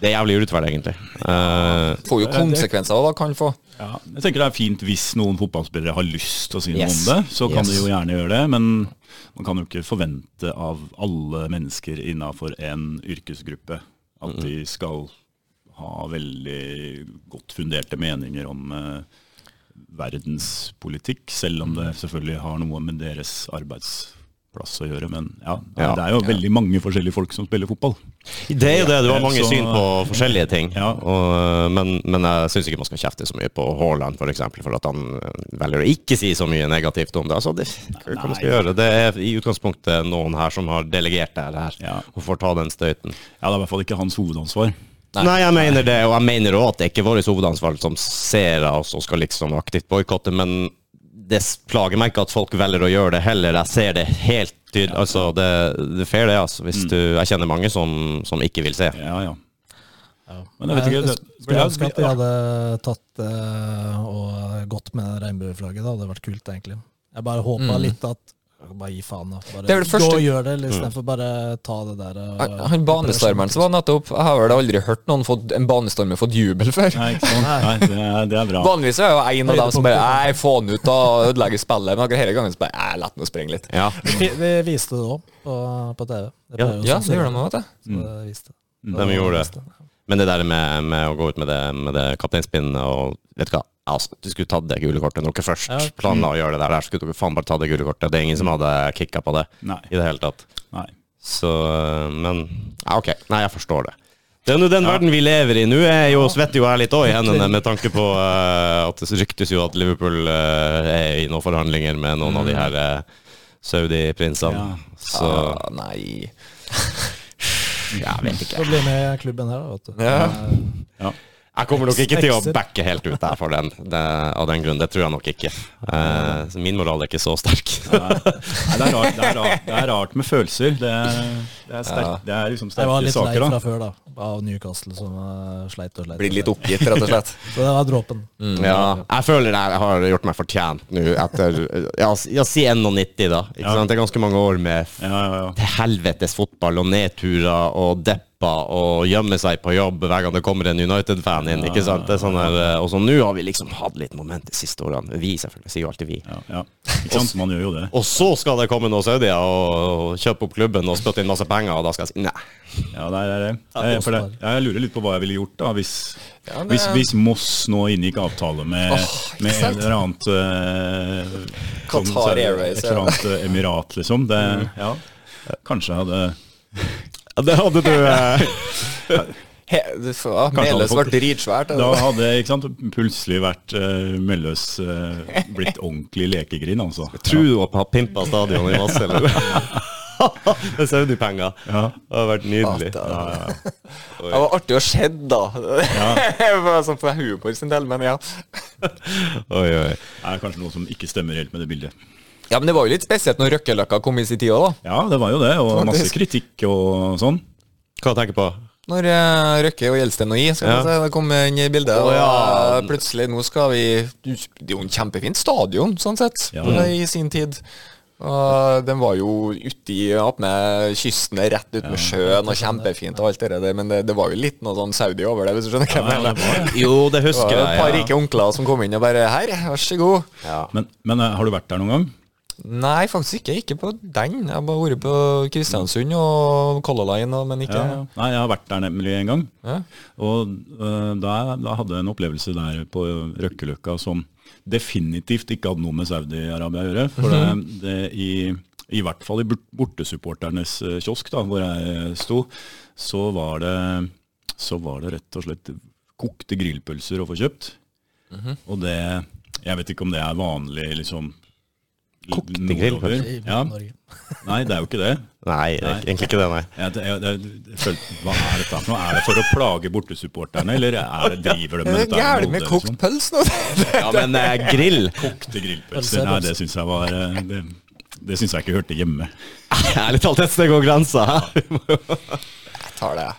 Speaker 1: det er jævlig urettferdig, egentlig. Eh,
Speaker 2: Får jo konsekvenser òg, da. Kan få.
Speaker 3: Ja, jeg tenker det er fint hvis noen fotballspillere har lyst til å si noe
Speaker 1: Yes.
Speaker 3: om det. Så kan
Speaker 1: Yes.
Speaker 3: de jo gjerne gjøre det, men man kan jo ikke forvente av alle mennesker innafor en yrkesgruppe at de
Speaker 1: Mm.
Speaker 3: skal ha veldig godt funderte meninger om eh, verdenspolitikk, selv om
Speaker 1: Mm.
Speaker 3: det selvfølgelig har noe med deres arbeidsplass å gjøre. Men ja,
Speaker 1: Ja.
Speaker 3: det er jo veldig mange forskjellige folk som spiller fotball.
Speaker 1: det er jo det, du har mange
Speaker 3: Eh, Så-
Speaker 1: syn på forskjellige ting,
Speaker 3: Ja.
Speaker 1: og, eh, men, men jeg syns ikke man skal kjefte så mye på Haaland, for eksempel, for at han eh, velger å ikke si så mye negativt om det. Altså, det hva man skal gjøre. Det er i utgangspunktet noen her som har delegert det her,
Speaker 3: Ja.
Speaker 1: og får ta den støyten.
Speaker 3: Ja, Det er i hvert fall ikke hans hovedansvar.
Speaker 1: Nei. jeg mener det, og jeg mener òg at det er ikke vårt hovedansvar som seere også skal liksom aktivt boikotte, men det s- plager meg ikke at folk velger å gjøre det heller. Jeg ser det helt tydelig. Altså, det, det er fair, det. altså. Hvis
Speaker 3: Mm.
Speaker 1: du, jeg kjenner mange som, som ikke vil se.
Speaker 3: Ja, ja.
Speaker 4: Ja.
Speaker 3: Men jeg vet ikke,
Speaker 4: Jeg
Speaker 3: det-
Speaker 4: Skulle ønske at de hadde tatt eh, og gått med regnbueflagget. Det hadde vært kult, egentlig. Jeg bare håpa litt at Bare gi faen, da. Bare
Speaker 2: Mm. Det er det første- Mm.
Speaker 4: gå og gjør det, liksom, istedenfor bare ta det der eh,
Speaker 2: Han han banestormeren som var nettopp Jeg har vel aldri hørt noen fått, en banestormer fått jubel før.
Speaker 3: Nei, ikke sant? Nei, det er, det er bra.
Speaker 2: Vanligvis er jo en av dem som bare Nei, få han ut, da. Ødelegger spillet. Men akkurat denne gangen så bare Nei, la den springe litt.
Speaker 1: Ja.
Speaker 4: Vi, vi viste det òg på, på TV. Det
Speaker 1: Ja,
Speaker 4: pleier jo
Speaker 2: Ja,
Speaker 4: sånn
Speaker 2: det gjør
Speaker 4: å
Speaker 2: de òg, vet du.
Speaker 4: være, så det viste.
Speaker 3: Mm.
Speaker 1: De gjorde det. Men det der med, med å gå ut med det, med det kapteinspinnet og Vet du hva, altså, du skulle tatt det gule kortet når dere først
Speaker 4: Ja.
Speaker 1: planla å gjøre det der. Der skulle dere faen bare tatt det gule kortet. Det er ingen som hadde kicka på det
Speaker 3: Nei.
Speaker 1: i det hele tatt.
Speaker 3: Nei.
Speaker 1: Så, men ja, OK. Nei, jeg forstår det. Det er nå den verden vi lever i. Nå er jo, svetter jo jeg litt òg i hendene, med tanke på eh, at det ryktes jo at Liverpool eh, er i noen forhandlinger med noen av de her eh, Saudi-prinsene.
Speaker 3: Ja.
Speaker 1: Så
Speaker 2: Ah, Nei.
Speaker 1: jeg vet ikke.
Speaker 4: Så bli med i klubben her, da, vet du.
Speaker 2: Ja.
Speaker 3: Ja.
Speaker 1: Jeg kommer nok ikke til å
Speaker 4: Ekser.
Speaker 1: backe helt ut der for den, det, av den grunn. Det tror jeg nok ikke. Eh, så min moral er ikke så sterk.
Speaker 3: Nei, det, er rart, det, er rart, det er rart med følelser. Det er, det er, sterk, det er liksom
Speaker 4: Jeg var
Speaker 3: sterke saker,
Speaker 4: litt lei fra
Speaker 3: da.
Speaker 4: før, da. Av Newcastle, som eh, sleit og sleit.
Speaker 2: Blir litt oppgitt, rett og slett.
Speaker 4: Så det var dråpen.
Speaker 1: Ja, jeg føler jeg har gjort meg fortjent nå etter Ja, s- ja, si 91, da. Ikke sant? Det er ganske mange år med
Speaker 3: Ja, ja, ja.
Speaker 1: til helvetes fotball og nedturer og depp kopper og gjemmer seg på jobb hver gang det kommer en United-fan inn. ikke sant? Det er sånn her, eh, og så nå har vi liksom hatt litt moment de siste årene. Vi, selvfølgelig. Sier jo alltid vi.
Speaker 3: Ja, ja. Ikke sant? Man gjør jo det.
Speaker 1: Og så skal det komme noen saudier og og kjøpe opp klubben og spytte inn masse penger, og da skal jeg si nei.
Speaker 3: Ja, det er det. Eh, for det ja, jeg lurer litt på hva jeg ville gjort da, hvis,
Speaker 2: Ja, det-
Speaker 3: hvis, hvis Moss nå inngikk avtale med,
Speaker 2: Åh, ikke
Speaker 3: med et
Speaker 2: sant?
Speaker 3: eller annet eh,
Speaker 2: Qatar
Speaker 3: kons-
Speaker 2: Airways, Mm.
Speaker 3: Et eller annet eh, emirat, liksom. Det, ja. Kanskje jeg hadde
Speaker 1: Det hadde du eh,
Speaker 2: He, det var Meløs ble
Speaker 3: folk-
Speaker 2: dritsvært. altså.
Speaker 3: Da hadde jeg ikke sant, plutselig vært uh, Melløs eh, blitt ordentlig lekegrind, altså.
Speaker 1: Tror du at har pimpa stadionet i masse, eller? Med saudipenger.
Speaker 3: Ja.
Speaker 1: Det hadde vært nydelig.
Speaker 2: Satan. Det var artig å se, da. Det var sånn for humor sin del, men ja.
Speaker 1: Oi, oi.
Speaker 3: Det er kanskje noe som ikke stemmer helt med det bildet.
Speaker 2: Ja, Men det var jo litt spesielt når Røkkeløkka kom i sin tid òg, da.
Speaker 3: Ja, det var jo det, og masse
Speaker 2: Faktisk.
Speaker 3: kritikk og sånn.
Speaker 1: Hva tenker du på?
Speaker 2: Når eh, Røkke og Gjelsten og I skal
Speaker 1: Ja.
Speaker 2: man si, da kom jeg inn i bildet. Og
Speaker 1: ja.
Speaker 2: eh, plutselig, nå skal vi Det er jo en kjempefint stadion, sånn sett,
Speaker 3: Ja.
Speaker 2: det i sin tid. Og den var jo ute i opp med kysten, rett ut med sjøen, og kjempefint og alt det der. Men det, det var jo litt noe sånn Saudi over det, hvis du skjønner hva jeg mener.
Speaker 1: Jo, det
Speaker 2: Det var
Speaker 1: husker
Speaker 2: jo et par
Speaker 1: jeg.
Speaker 2: rike onkler som kom inn og bare Her, vær så god.
Speaker 3: Men, men eh, har du vært der noen gang?
Speaker 2: Nei, faktisk ikke. Ikke på den. Jeg har bare vært på Kristiansund og Color Line, og- men ikke
Speaker 3: Ja, ja. Nei, jeg har vært der nemlig en gang.
Speaker 2: Ja.
Speaker 3: Og øh, da, da hadde jeg en opplevelse der på Røkkeløkka som definitivt ikke hadde noe med Saudi-Arabia å gjøre. For det, det i, i hvert fall i bort- bortesupporternes øh, kiosk, da, hvor jeg sto, så var det, så var det rett og slett kokte grillpølser å få kjøpt. Og det Jeg vet ikke om det er vanlig, liksom
Speaker 1: Kokte
Speaker 3: nordover.
Speaker 1: grillpølser?
Speaker 3: Ja.
Speaker 4: Norge.
Speaker 3: Nei, det er jo ikke det.
Speaker 1: Nei, det er egentlig ikke det, nei.
Speaker 3: Jeg, jeg, jeg, jeg følte, hva er dette for noe? Er det for å plage bortesupporterne, eller er det, driver de
Speaker 2: Det
Speaker 3: med
Speaker 2: er
Speaker 3: dette? her
Speaker 2: gærent med
Speaker 3: nåde,
Speaker 2: kokt
Speaker 3: liksom?
Speaker 2: pølse nå.
Speaker 1: Ja, men eh, grill
Speaker 3: Kokte grillpølser, nei, det syns jeg var eh, Det, det syns jeg ikke hørte hjemme.
Speaker 1: Ærlig talt, et sted går grensa.
Speaker 2: Jeg tar det, jeg.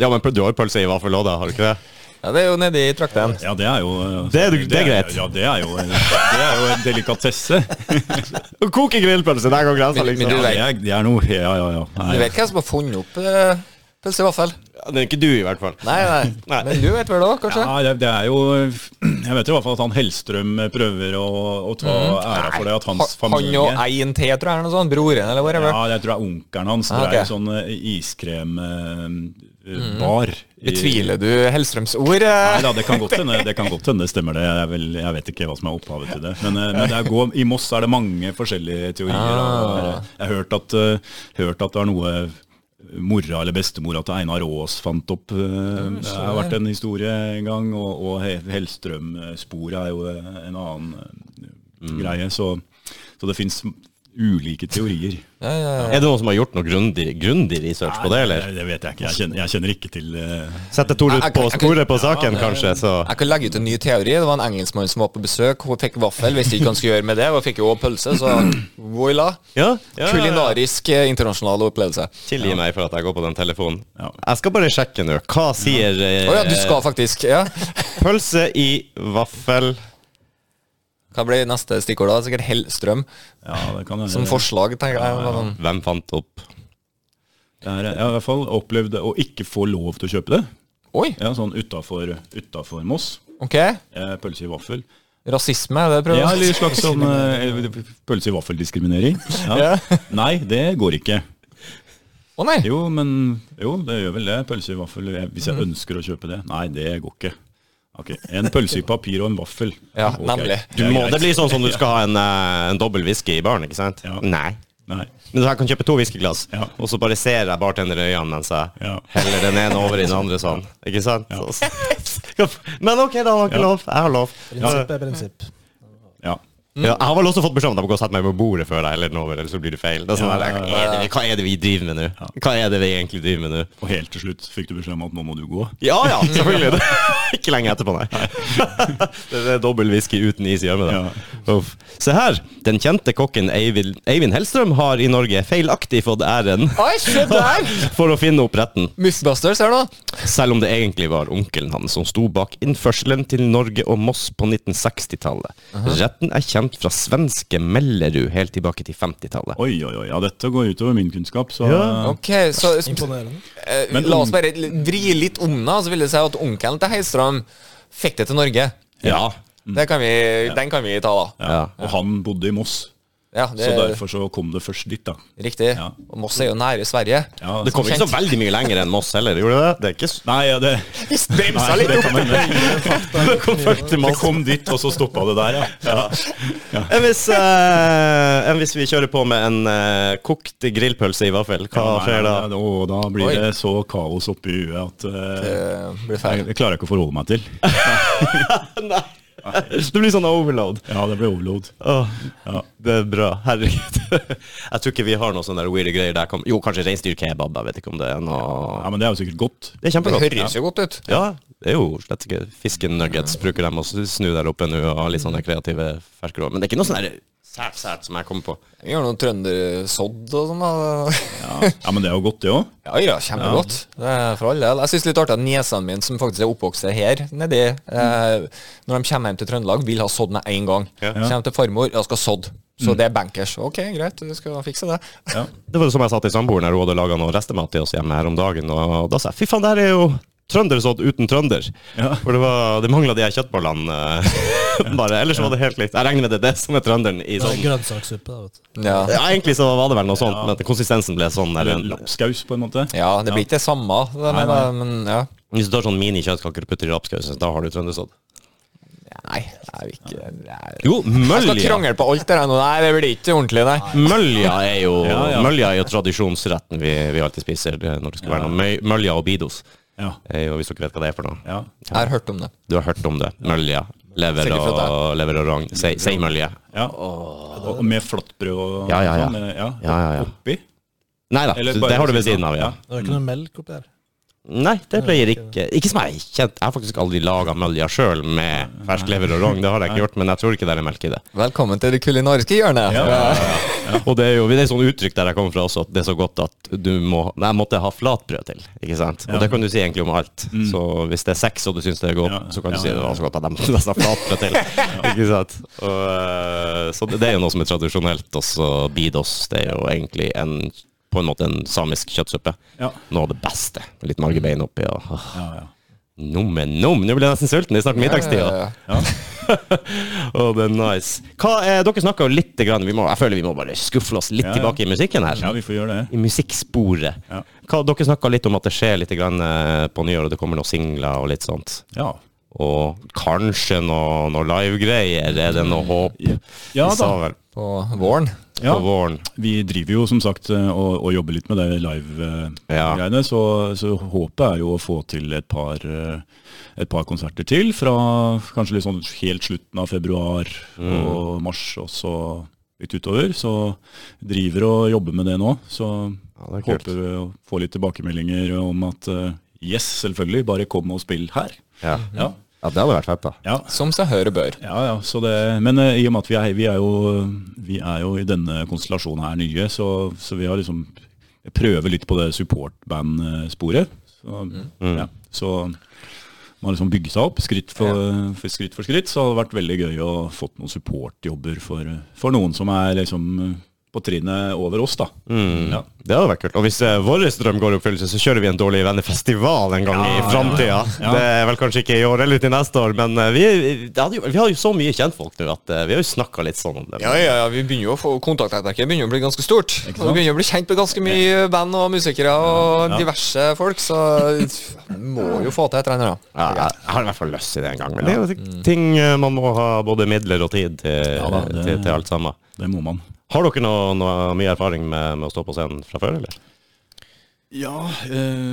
Speaker 1: Ja, men du har jo pølse i vaffel òg, da, har du ikke det?
Speaker 2: Ja, det er jo nedi i trakten.
Speaker 3: Ja, det er jo eh,
Speaker 1: Det er- det er greit.
Speaker 3: Ja, det er jo, en- det er jo en delikatesse.
Speaker 1: Å koke grillpølse, der går grensa,
Speaker 2: Men- men
Speaker 1: liksom.
Speaker 2: du-
Speaker 3: Ja, det, er, det er noe Ja, ja, ja.
Speaker 2: Du
Speaker 3: Nei,
Speaker 2: vet hvem som har funnet opp eh, pølse i vaffel?
Speaker 1: Ja, Det er ikke du, i hvert fall.
Speaker 2: Nei, nei.
Speaker 1: Nei.
Speaker 2: Men du vet vel det òg, kanskje?
Speaker 3: ja det, det er jo Jeg vet jo i hvert fall at han Hellstrøm eh, prøver å, å ta æra for det, at hans
Speaker 2: Ha- Mhm. Han
Speaker 3: familie
Speaker 2: og en til, tror jeg, eller noe sånt. Broren, eller whatever.
Speaker 3: Ja, jeg tror det er onkelen hans.
Speaker 2: Ah,
Speaker 3: Det er jo
Speaker 2: ok. Mhm.
Speaker 3: sånn eh, iskrembar.
Speaker 2: Betviler du Hellstrøms ord? eh?
Speaker 3: Nei da, det kan godt hende. Det kan godt hende, det stemmer det. Jeg, er vel, jeg vet ikke hva som er opphavet til det. Men, eh, men det er gå, i Moss er det mange forskjellige
Speaker 1: Ah.
Speaker 3: teorier. og Jeg har hørt at, eh, hørt at det er noe eh, mora eller bestemora til Einar Aas fant opp. eh, Det har vært en historie en gang, og, og He- Hellstrøm-sporet er jo eh, en annen eh,
Speaker 1: Mm.
Speaker 3: greie. Så, så det fins ulike teorier.
Speaker 2: Ja, ja, ja.
Speaker 1: Er det noen som har gjort noe grundig, grundig research på det, eller?
Speaker 3: Nei, Det vet jeg ikke. Jeg kjenner, jeg kjenner ikke til eh,
Speaker 1: Sette Tor ut på sporet på saken, kanskje, så
Speaker 2: Jeg kan legge ut en ny teori. Det var en engelskmann som var på besøk. Hun fikk vaffel, visste ikke hva han skulle gjøre med det. Hun fikk jo også pølse, så voilà.
Speaker 1: Ja, ja, ja.
Speaker 2: Kulinarisk eh, internasjonal opplevelse.
Speaker 1: Tilgi meg for at jeg går på den telefonen.
Speaker 3: Ja.
Speaker 1: Jeg skal bare sjekke nå. Hva sier eh,
Speaker 2: Å ja, du skal faktisk Ja.
Speaker 1: pølse i vaffel
Speaker 2: Hva blir neste stikkord da? Sikkert Hellstrøm
Speaker 3: ja, det kan
Speaker 2: som
Speaker 3: være.
Speaker 2: forslag, tenker jeg. Hva sånn-
Speaker 1: Hvem fant opp?
Speaker 3: Det er, jeg har i hvert fall opplevd å ikke få lov til å kjøpe det.
Speaker 2: Oi,
Speaker 3: Ja, sånn utafor, utafor Moss.
Speaker 2: ok.
Speaker 3: Eh, Pølse i vaffel.
Speaker 2: Rasisme, er det det du prøver?
Speaker 3: Ja, eller en slags sånn eh, pølse i vaffeldiskriminering. Ja. Nei, det går ikke.
Speaker 2: Å nei.
Speaker 3: Jo, men jo, det gjør vel det. Pølse i vaffel. eh, Hvis
Speaker 1: Mm.
Speaker 3: jeg ønsker å kjøpe det. Nei, det går ikke. Ok, En pølse i papir og en vaffel.
Speaker 2: Ja,
Speaker 3: Ok,
Speaker 2: nemlig.
Speaker 1: Du
Speaker 3: det er
Speaker 1: må,
Speaker 3: greit.
Speaker 1: det blir sånn som du skal ha en, eh, en dobbel whisky i baren, ikke sant?
Speaker 3: Ja.
Speaker 1: Nei.
Speaker 3: Nei.
Speaker 1: Men jeg kan kjøpe to whiskyglass,
Speaker 3: Ja.
Speaker 1: og så bare ser jeg bartender i øynene mens jeg
Speaker 3: Ja.
Speaker 1: heller den ene over i den andre sånn. Ikke sant? Men ok, da har han
Speaker 3: Ja.
Speaker 1: ikke lov. Jeg har lov.
Speaker 4: Prinsipp er prinsipp.
Speaker 3: Ja.
Speaker 1: Ja, jeg har vel også fått beskjed om at jeg må gå og sette meg på bordet før jeg heller den over, eller så blir det feil. Det er sånn,
Speaker 3: Ja,
Speaker 1: der,
Speaker 3: ja,
Speaker 1: hva, er det, vi- hva er det vi driver med nå? Hva er det vi egentlig driver med nå?
Speaker 3: Og helt til slutt fikk du beskjed om at nå må du gå.
Speaker 1: Ja ja, selvfølgelig. Det- Ikke lenge etterpå, nei. Det er dobbel whisky uten is i gjørme.
Speaker 3: Ja.
Speaker 1: da. Uff. Se her! Den kjente kokken Eivind, Eivind Hellstrøm har i Norge feilaktig fått æren
Speaker 2: Oi, se der!
Speaker 1: for å finne opp retten,
Speaker 2: Mythbusters her nå.
Speaker 1: selv om det egentlig var onkelen hans som sto bak innførselen til Norge og Moss på 1960-tallet. Retten er kjent fra svenske Mellerud helt tilbake til 50-tallet.
Speaker 3: Oi, oi, oi. Ja, dette går utover min kunnskap, så
Speaker 2: Ok, så
Speaker 4: Imponerende.
Speaker 2: eh,
Speaker 3: Men
Speaker 2: La
Speaker 3: om-
Speaker 2: oss bare l- vri litt om da, så vil det si at onkelen til Heistram fikk det til Norge.
Speaker 1: Ja.
Speaker 3: Mm.
Speaker 2: Det kan vi, den kan vi ta, da.
Speaker 1: ja.
Speaker 3: Og han bodde i Moss,
Speaker 2: Ja, det
Speaker 3: så
Speaker 2: er
Speaker 3: derfor så kom det først dit, da.
Speaker 2: riktig.
Speaker 3: Ja.
Speaker 2: Og Moss er jo nære Sverige.
Speaker 3: Ja,
Speaker 1: Det kom ikke så veldig mye lenger enn Moss heller, gjorde det? Det er ikke s-
Speaker 3: Nei, ja, det,
Speaker 2: Bremsa
Speaker 3: nei,
Speaker 2: litt
Speaker 3: det kan man
Speaker 1: Det kom først til
Speaker 3: Det
Speaker 1: Moss.
Speaker 3: kom dit, og så stoppa det der, ja. ja.
Speaker 1: Enn hvis, eh, enn hvis vi kjører på med en eh, kokt grillpølse i vaffel, hva
Speaker 3: Nei,
Speaker 1: skjer da?
Speaker 3: nei, Å, da blir
Speaker 2: Oi.
Speaker 3: det så kaos oppi huet at eh,
Speaker 2: Eh, Blir
Speaker 3: jeg,
Speaker 2: feil.
Speaker 3: det klarer jeg ikke å forholde meg til.
Speaker 1: Nei. Det blir sånn overload.
Speaker 3: Ja, det ble overload.
Speaker 1: Åh, Det er bra. Herregud. Jeg tror ikke vi har noe sånne der weirde greier der. Kom- Jo, kanskje reinsdyrkebab. Jeg vet ikke om det er noe
Speaker 3: Ja, Men det er jo sikkert godt.
Speaker 1: Det er
Speaker 2: Det
Speaker 1: kjempegodt.
Speaker 2: høres jo godt ut.
Speaker 1: Ja, det er jo slett ikke fisken nuggets. Bruker dem og snu der oppe nå og ha litt sånne kreative ferskråd. Men det er ikke noe sånn der sært, sært som jeg kommer på.
Speaker 2: Vi gjør noe trøndersodd og sånn. da.
Speaker 3: Ja, ja Men det er jo godt, det òg.
Speaker 2: Ja, ja, kjempegodt. Det er for all del. Jeg syns litt artig at niesene mine, som faktisk er oppvokst her nedi, eh, når de kommer hjem til Trøndelag, vil ha sådd med en gang. Kommer til farmor, ja, skal sådd. Så det er bankers. Ok, greit, du skal fikse det.
Speaker 3: Mm. Ja.
Speaker 1: Det var jo som jeg sa til samboeren her, hun hadde laga noe restemat til oss hjemme her om dagen. Og da sa jeg fy faen, det her er jo trøndersodd uten trønder.
Speaker 3: Ja.
Speaker 1: For det, var- det mangla de her kjøttbollene eh, bare. Ellers var det helt likt. Jeg regner med det er det som er trønderen i
Speaker 4: Det er
Speaker 1: sånn
Speaker 4: grønnsakssuppe, da, vet du.
Speaker 2: Ja,
Speaker 1: Ja, egentlig så var det vel noe sånt, men at konsistensen ble sånn.
Speaker 3: Eller
Speaker 1: Eller
Speaker 3: en
Speaker 1: en,
Speaker 3: lapskaus, på en måte.
Speaker 2: ja det blir ikke det samme,
Speaker 3: Nei,
Speaker 2: det mener
Speaker 3: nei.
Speaker 2: jeg, men ja.
Speaker 1: hvis du tar sånn mini-kjøttkaker og putter i rapskausen, da har du trøndersodd.
Speaker 2: Nei, jeg vil ikke nei.
Speaker 1: Jo,
Speaker 2: Jeg skal
Speaker 1: mølja.
Speaker 2: krangle på alt det der nå. Nei, det blir ikke ordentlig, nei.
Speaker 1: Mølja er jo,
Speaker 3: Ja, ja.
Speaker 1: Mølja er jo tradisjonsretten vi, vi alltid spiser eh, når det skal være noe. Møy- Mølja og bidos,
Speaker 3: Ja.
Speaker 1: er jo, hvis dere vet hva det er for noe.
Speaker 3: ja.
Speaker 2: Jeg har hørt om det.
Speaker 1: Du har hørt om det. Mølja. Lever
Speaker 2: Sikkert
Speaker 1: og,
Speaker 2: fra
Speaker 1: lever og rogn. Si, si mølje.
Speaker 3: ja. Og og med flatbrød og
Speaker 1: Ja, ja, ja.
Speaker 3: sånn. eh, Ja.
Speaker 1: Ja, ja, ja.
Speaker 3: Oppi.
Speaker 1: Nei da,
Speaker 3: Eller bare sånn-
Speaker 1: det har du
Speaker 3: ved
Speaker 1: ved siden av, ja.
Speaker 4: Det er ikke noe melk oppi her.
Speaker 1: Nei, det pleier ikke Ikke som jeg kjent. Jeg har faktisk aldri laga mølja sjøl med fersk lever og rogn. Det har jeg ikke gjort, men jeg tror ikke det er melk i det.
Speaker 2: Velkommen til det kulinariske hjørnet.
Speaker 3: Ja.
Speaker 1: Og det er jo det er et sånt uttrykk der jeg kommer fra også, at det er så godt at du må Nei, jeg måtte ha flatbrød til, ikke sant? Og det kan du si egentlig om alt. Så hvis det er sex og du syns det er godt,
Speaker 3: Mm. Ja,
Speaker 1: så kan du
Speaker 3: ja,
Speaker 1: si det var så godt at jeg måtte nesten ha flatbrød til. ikke sant? Og, eh, så det er jo noe som er tradisjonelt. Og så bidos, det er jo egentlig en på en måte en samisk kjøttsuppe.
Speaker 3: Ja.
Speaker 1: Noe av det beste. Litt margebein oppi og åh,
Speaker 3: Ja, ja.
Speaker 1: Nummen nom! Nå blir jeg nesten sulten. Det er snart middagstid.
Speaker 2: Ja, ja, ja.
Speaker 1: Å, det er nice. Hva er, dere snakka jo lite grann vi må, Jeg føler vi må bare skuffe oss litt
Speaker 3: Ja, ja.
Speaker 1: tilbake i musikken her.
Speaker 3: ja, vi får gjøre det.
Speaker 1: I musikksporet.
Speaker 3: Ja.
Speaker 1: Hva, dere snakka litt om at det skjer litt grann eh, på nyåret. Det kommer noen singler og litt sånt.
Speaker 3: Ja.
Speaker 1: Og kanskje noe, noe livegreier. Er det noe håp?
Speaker 3: Mm. Ja
Speaker 1: Vi sa
Speaker 3: da.
Speaker 1: vel
Speaker 2: På våren.
Speaker 1: på
Speaker 3: Ja.
Speaker 1: våren.
Speaker 3: Vi driver jo som sagt eh, og, og jobber litt med det
Speaker 1: Ja.
Speaker 3: live-greiene, så, så håpet er jo å få til et par, eh, et par konserter til fra kanskje litt sånn helt slutten av februar
Speaker 1: Mm.
Speaker 3: og mars og så litt utover. Så vi driver og jobber med det nå. Så
Speaker 1: Ja, det er kult.
Speaker 3: håper vi å få litt tilbakemeldinger om at eh, yes, selvfølgelig, bare kom og spill her.
Speaker 1: Ja.
Speaker 3: Ja,
Speaker 1: ja, det hadde vært fett, da.
Speaker 3: ja.
Speaker 2: Som seg hør og bør.
Speaker 3: Ja, ja, så det, men eh, i og med at vi er, vi er, jo, vi er jo i denne konstellasjonen her nye, så, så vi har liksom prøver litt på det supportband-sporet. Så, ja, så man har liksom bygget seg opp skritt for, for skritt for skritt. Så det har vært veldig gøy å fått noen supportjobber for, for noen som er liksom på trinnet over oss, da. Ja.
Speaker 1: Det hadde vært kult. Og hvis eh, vår drøm går i oppfyllelse, så kjører vi en Dårlige venner-festival en gang i framtida. Det er vel kanskje ikke i år eller til neste år, men eh, vi, det hadde jo, vi har jo så mye kjentfolk nå at eh, vi har jo snakka litt sånn om det.
Speaker 2: Ja, ja, ja, vi begynner jo å få kontaktnettverket begynner å bli ganske stort. Og vi begynner å bli kjent med ganske mye band og musikere og diverse folk, så må jo få til et eller annet. da.
Speaker 1: Ja, jeg, jeg har i hvert fall lyst til det en gang. Men det er jo ting eh, man må ha både midler og tid til, eh,
Speaker 3: da, det-
Speaker 1: til, til alt sammen.
Speaker 3: Det må man.
Speaker 1: Har dere noe, noe mye erfaring med, med å stå på scenen fra før, eller?
Speaker 3: Ja,
Speaker 4: eh,